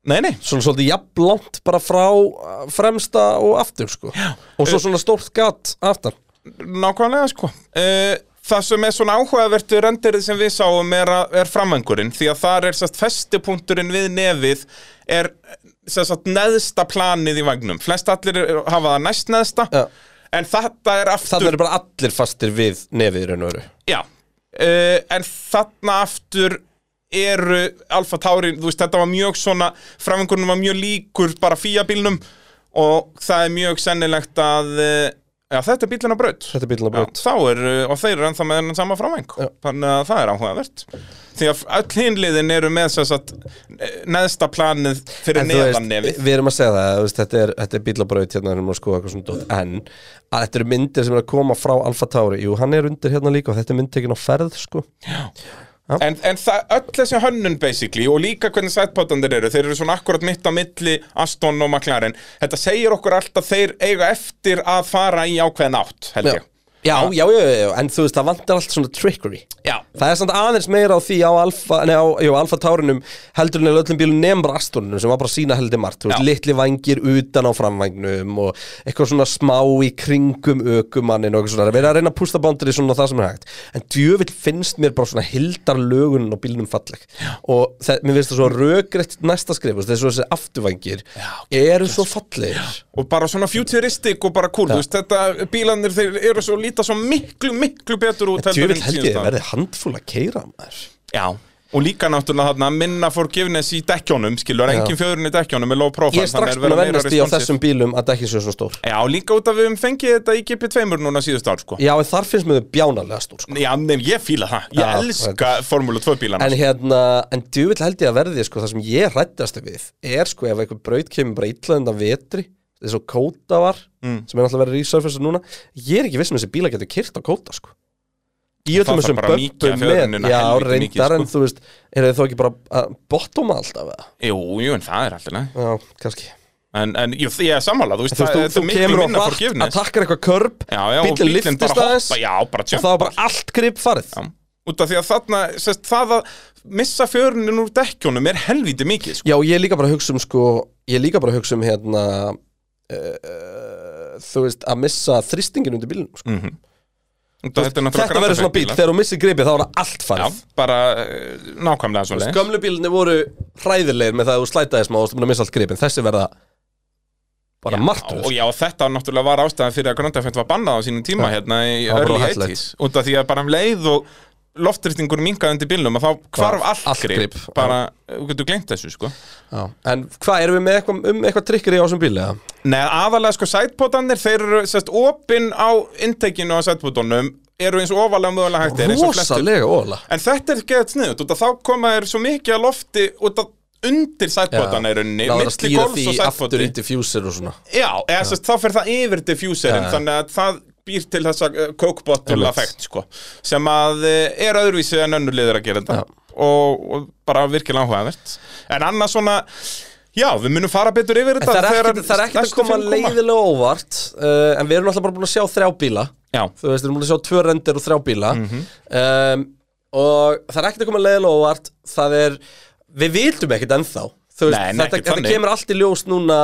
B: Nei, nei,
A: svona svolítið jafnlangt bara frá uh, fremsta og aftur sko Já. og
B: Eh.
A: svo svona stórt gat aftan
B: Nákvæmlega sko uh, Það sem er svona áhugavertu renderið sem við sáum er, að- er framvangurinn því að þar er sérst festipunkturinn við nefið er sérst neðsta planið í vagnum flest allir er- hafa það næst neðsta
A: Já.
B: en þetta er aftur
A: Þannig eru bara allir fastir við nefið í raun og veru
B: Já, uh, en þarna aftur eru Alfa Tauri, þú veist, þetta var mjög svona framvengurinn var mjög líkur bara fíja bílnum og það er mjög sennilegt að uh, Já, þetta er bílinn á braut
A: Þetta er bílun að
B: Já,
A: brot
B: þá er, og þeir eru ennþá með hennan sama framvæng þannig að það er áhugavert því að öll hinliðin eru með sem sagt, eh, neðsta planið fyrir
A: En þú veist,
B: neðan nefið
A: við erum að segja það þú veist, Þetta er, þetta er bíl að braut hérna erum að skoða eitthvað svona dót En að þetta eru myndir sem eru að koma frá Alfa Tauri Jú, hann er undir hérna líka og þetta er myndtekin á ferð sko.
B: en, en það, öll þessi hönnun basically og líka hvernig sætpotandir eru þeir eru svona akkurat mitt á milli Aston og McLaren þetta segir okkur allt að þeir eiga eftir að fara í ákveðin átt held
A: já.
B: ég
A: Já, já, já, já, en þú veist, það vantar allt svona trickery
B: Já.
A: Það er samt aðeins meira á því á Alfa, nei, á, jú, Alfa Taurinum heldur en öllum bílum nefnra Astonunum sem var bara sína heldur margt, þú veist,
B: Já.
A: litli vangir utan á framvagnum og eitthvað svona smá í kringum ökumannin og eitthvað svona, við erum að reyna að pústa bándir í svona það sem er hægt, en djövill finnst mér bara svona hildar lögunin á bílunum falleg Já. og það, mér finnst það svo rökrétt næsta skrif, þú veist, þessu þessi afturvangir eru svo fallegir
B: og bara svona futuristik og bara cool þú veist, þetta bílanir þeir eru svo líta svo miklu, miklu betur út heldur en
A: djövill held ég
B: síðasta.
A: verði handfúl að keira maður
B: Já Og líka náttúrulega þarna minna forgiveness í dekkjónum skilur, engin fjöðurinn í dekkjónum er low profile
A: Ég er strax búin að vennast í á þessum bílum að dekkin séu svona stór
B: Já, líka út af við höfum fengið þetta í GP2 núna síðust ár sko
A: Já, en þar finnst mér þau bjánalega stór sko.
B: Já, nefn, ég fíla það, ég
A: Já,
B: elska Formúlu 2 bílana
A: En hérna, en djúvill held ég að verði sko, það sem ég rættast við er sko ef einhver braut kemur bara illa undan vetri eins og kóta var,
B: Mm.
A: sem er alltaf verið resurfaced núna, ég er ekki viss um þessi bíla getur kyrt á kóta sko Í
B: Það
A: öllum
B: þarf
A: þessum
B: bara að mýkja
A: böppum
B: fjörunina
A: með Já,
B: helviti
A: reyndar,
B: mikið, sko.
A: en þú veist, eru þið þó ekki bara að bottóma alltaf eða?
B: Jú, jú, en það er alltaf leið.
A: Já, kannski
B: En, en jú, ég er sammála, þú veist,
A: Þú
B: það
A: veist,
B: er
A: þú, þú
B: miklu
A: kemur á
B: minna
A: hratt, að
B: forgiveness
A: takkar eitthvað körp
B: Já, já, og
A: bíllinn
B: bíllinn
A: lyftist
B: bara
A: aðeins
B: hoppa, já, bara
A: og það var bara allt grip farið
B: Já. Út af því að þarna, sest, það að missa fjöðurinn úr dekkjónum er helviti mikið sko.
A: Já, og ég er líka bara að hugsa um sko Ég er líka bara að hugsa um hérna uh, Þú veist, að missa þrýstingin undir bílunum sko.
B: Út af Mm. Þetta, er náttúrulega
A: Þetta verður svona bíl,
B: grandafært bílar.
A: þegar þú missir gripið þá er það allt farið
B: Já, bara eh, nákvæmlega svo leið
A: Gömlu bílunni voru hræðilegir með það að þú slætaði smá og þú búin að missa allt gripin Þessi verða bara martröð sko.
B: og já, þetta náttúrulega var ástæðan fyrir að Grönda var bannað á sínum tíma
A: Já.
B: hérna í
A: Það var bara
B: early
A: hættulegt.
B: 80s út af því að bara um leið og loftristingur minkaði undir bílnum að þá hvarf
A: Hvarf
B: allt,
A: allt
B: grip,
A: grip,
B: bara, eh, þú getur gleymt þessu sko
A: Já. En hvað, erum við með eitthvað, um eitthvað trikkir í ásum bíl eða?
B: Nei, aðalega sko sætbótanir, þeir eru sérst opinn á inntekinu á sætbótanum eru eins og ofalega mögulega hægt er eins og flestir.
A: Rosalega óla
B: En þetta er geðt sniðut, út að þá koma þeir svo mikið að lofti út að undir sætbótana í rauninni,
A: Náður að
B: milli
A: slíða
B: golfs
A: því
B: og
A: aftur
B: sætbóti
A: í diffuser og svona
B: Já, eða sérst, þá fer það yfir diffjúserinn,
A: Já.
B: þannig að það býr til þessa uh, coke bottle
A: Einmitt.
B: effekt, sko, sem að eh, er öðruvísi en önnur liður að gera þetta og, og bara virkilega áhugavert en annars svona, já, við munum fara betur yfir
A: En
B: þetta
A: það er
B: þegar
A: ekkert, það er ekkert að
B: næstu
A: koma
B: fimm
A: leiðilega óvart uh, En við erum alltaf bara búin að sjá þrjá bíla
B: Já,
A: Þú veist, við erum búin að sjá tvö rendir og þrjá bíla
B: Mhm.
A: um, Og það er ekkert að koma leiðilega óvart Það er, við vildum ekkert ennþá Þú veist,
B: Nei, nei,
A: þetta,
B: ekkert
A: þetta
B: þannig.
A: kemur allt í ljós núna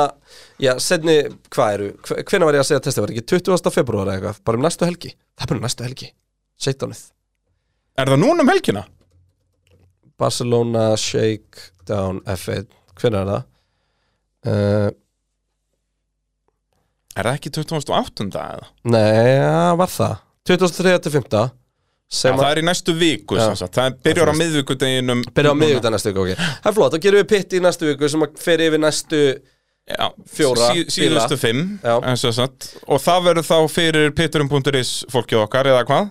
A: Já, setni, hvað eru, hvenær var ég að segja að testa var ekki 20. februar eða eitthvað, bara um næstu helgi Það er bara um næstu helgi, 17.
B: er það núna um helgina?
A: Barcelona Shakedown F1 Hvernig er það? Uh,
B: Er það ekki 2008. eða?
A: nei, ja, var það 2003-15
B: Já,
A: sem
B: það
A: að
B: er í næstu viku, sem sagt, það byrjar á miðvikudeginum
A: byrja á miðvikudag næstu viku okay. Það er flott, þá gerum við pitt í næstu viku sem að fer yfir næstu
B: Já,
A: Fjóra
B: sí, síðustu
A: bíla.
B: fimm
A: Já.
B: eins og satt og það verður þá fyrir pitturum.is fólkið okkar eða hvað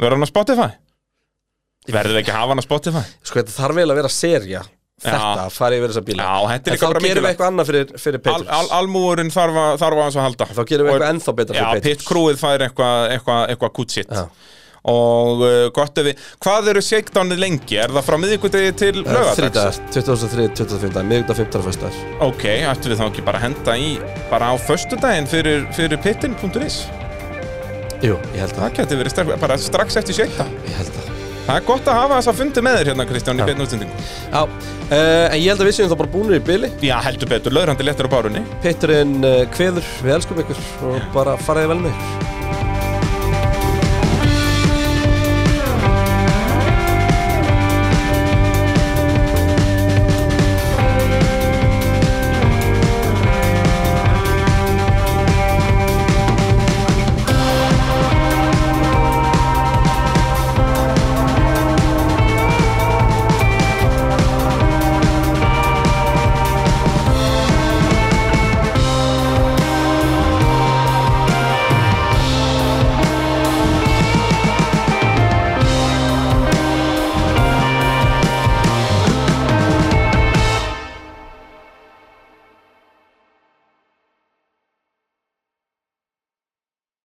B: verður hann á Spotify verður ekki að hafa hann á Spotify
A: Sko, þetta þarf vel að vera serja Þetta, fara yfir þessa bíla
B: já,
A: En þá
B: þetta er líka bara
A: gerum við
B: mikilvægt
A: eitthvað annað fyrir, fyrir
B: al,
A: Petrus
B: al, almúurinn þarf, að- þarf að hans að halda
A: Þá gerum við
B: Og-
A: eitthvað ennþá betra
B: já,
A: fyrir Petrus
B: pitkrúið fær eitthvað eitthvað eitthva kutsitt
A: Já.
B: og uh, gott ef við hvað eru shakedownið lengi, er það frá miðvikudegi til
A: Eh,
B: lögadags?
A: Þrítar, 2003-2005, miðvikudag 15. föstudagur.
B: ok, ættum við þá ekki bara að henda í bara á föstudaginn fyrir, fyrir pittin.is
A: Jú, ég held
B: það
A: að,
B: geti verið strax, bara strax eftir shakedown
A: ég held að
B: Það er gott að hafa þess að fundi með þér hérna Kristján
A: Já.
B: í beinu útsendingu
A: Já, uh, en ég held að við séum þá bara búinir í bíli
B: Já, heldur betur, löðrandi léttur á bárunni
A: eh, Péturinn uh, kveður, við elskum ykkur og bara faraði vel með ykkur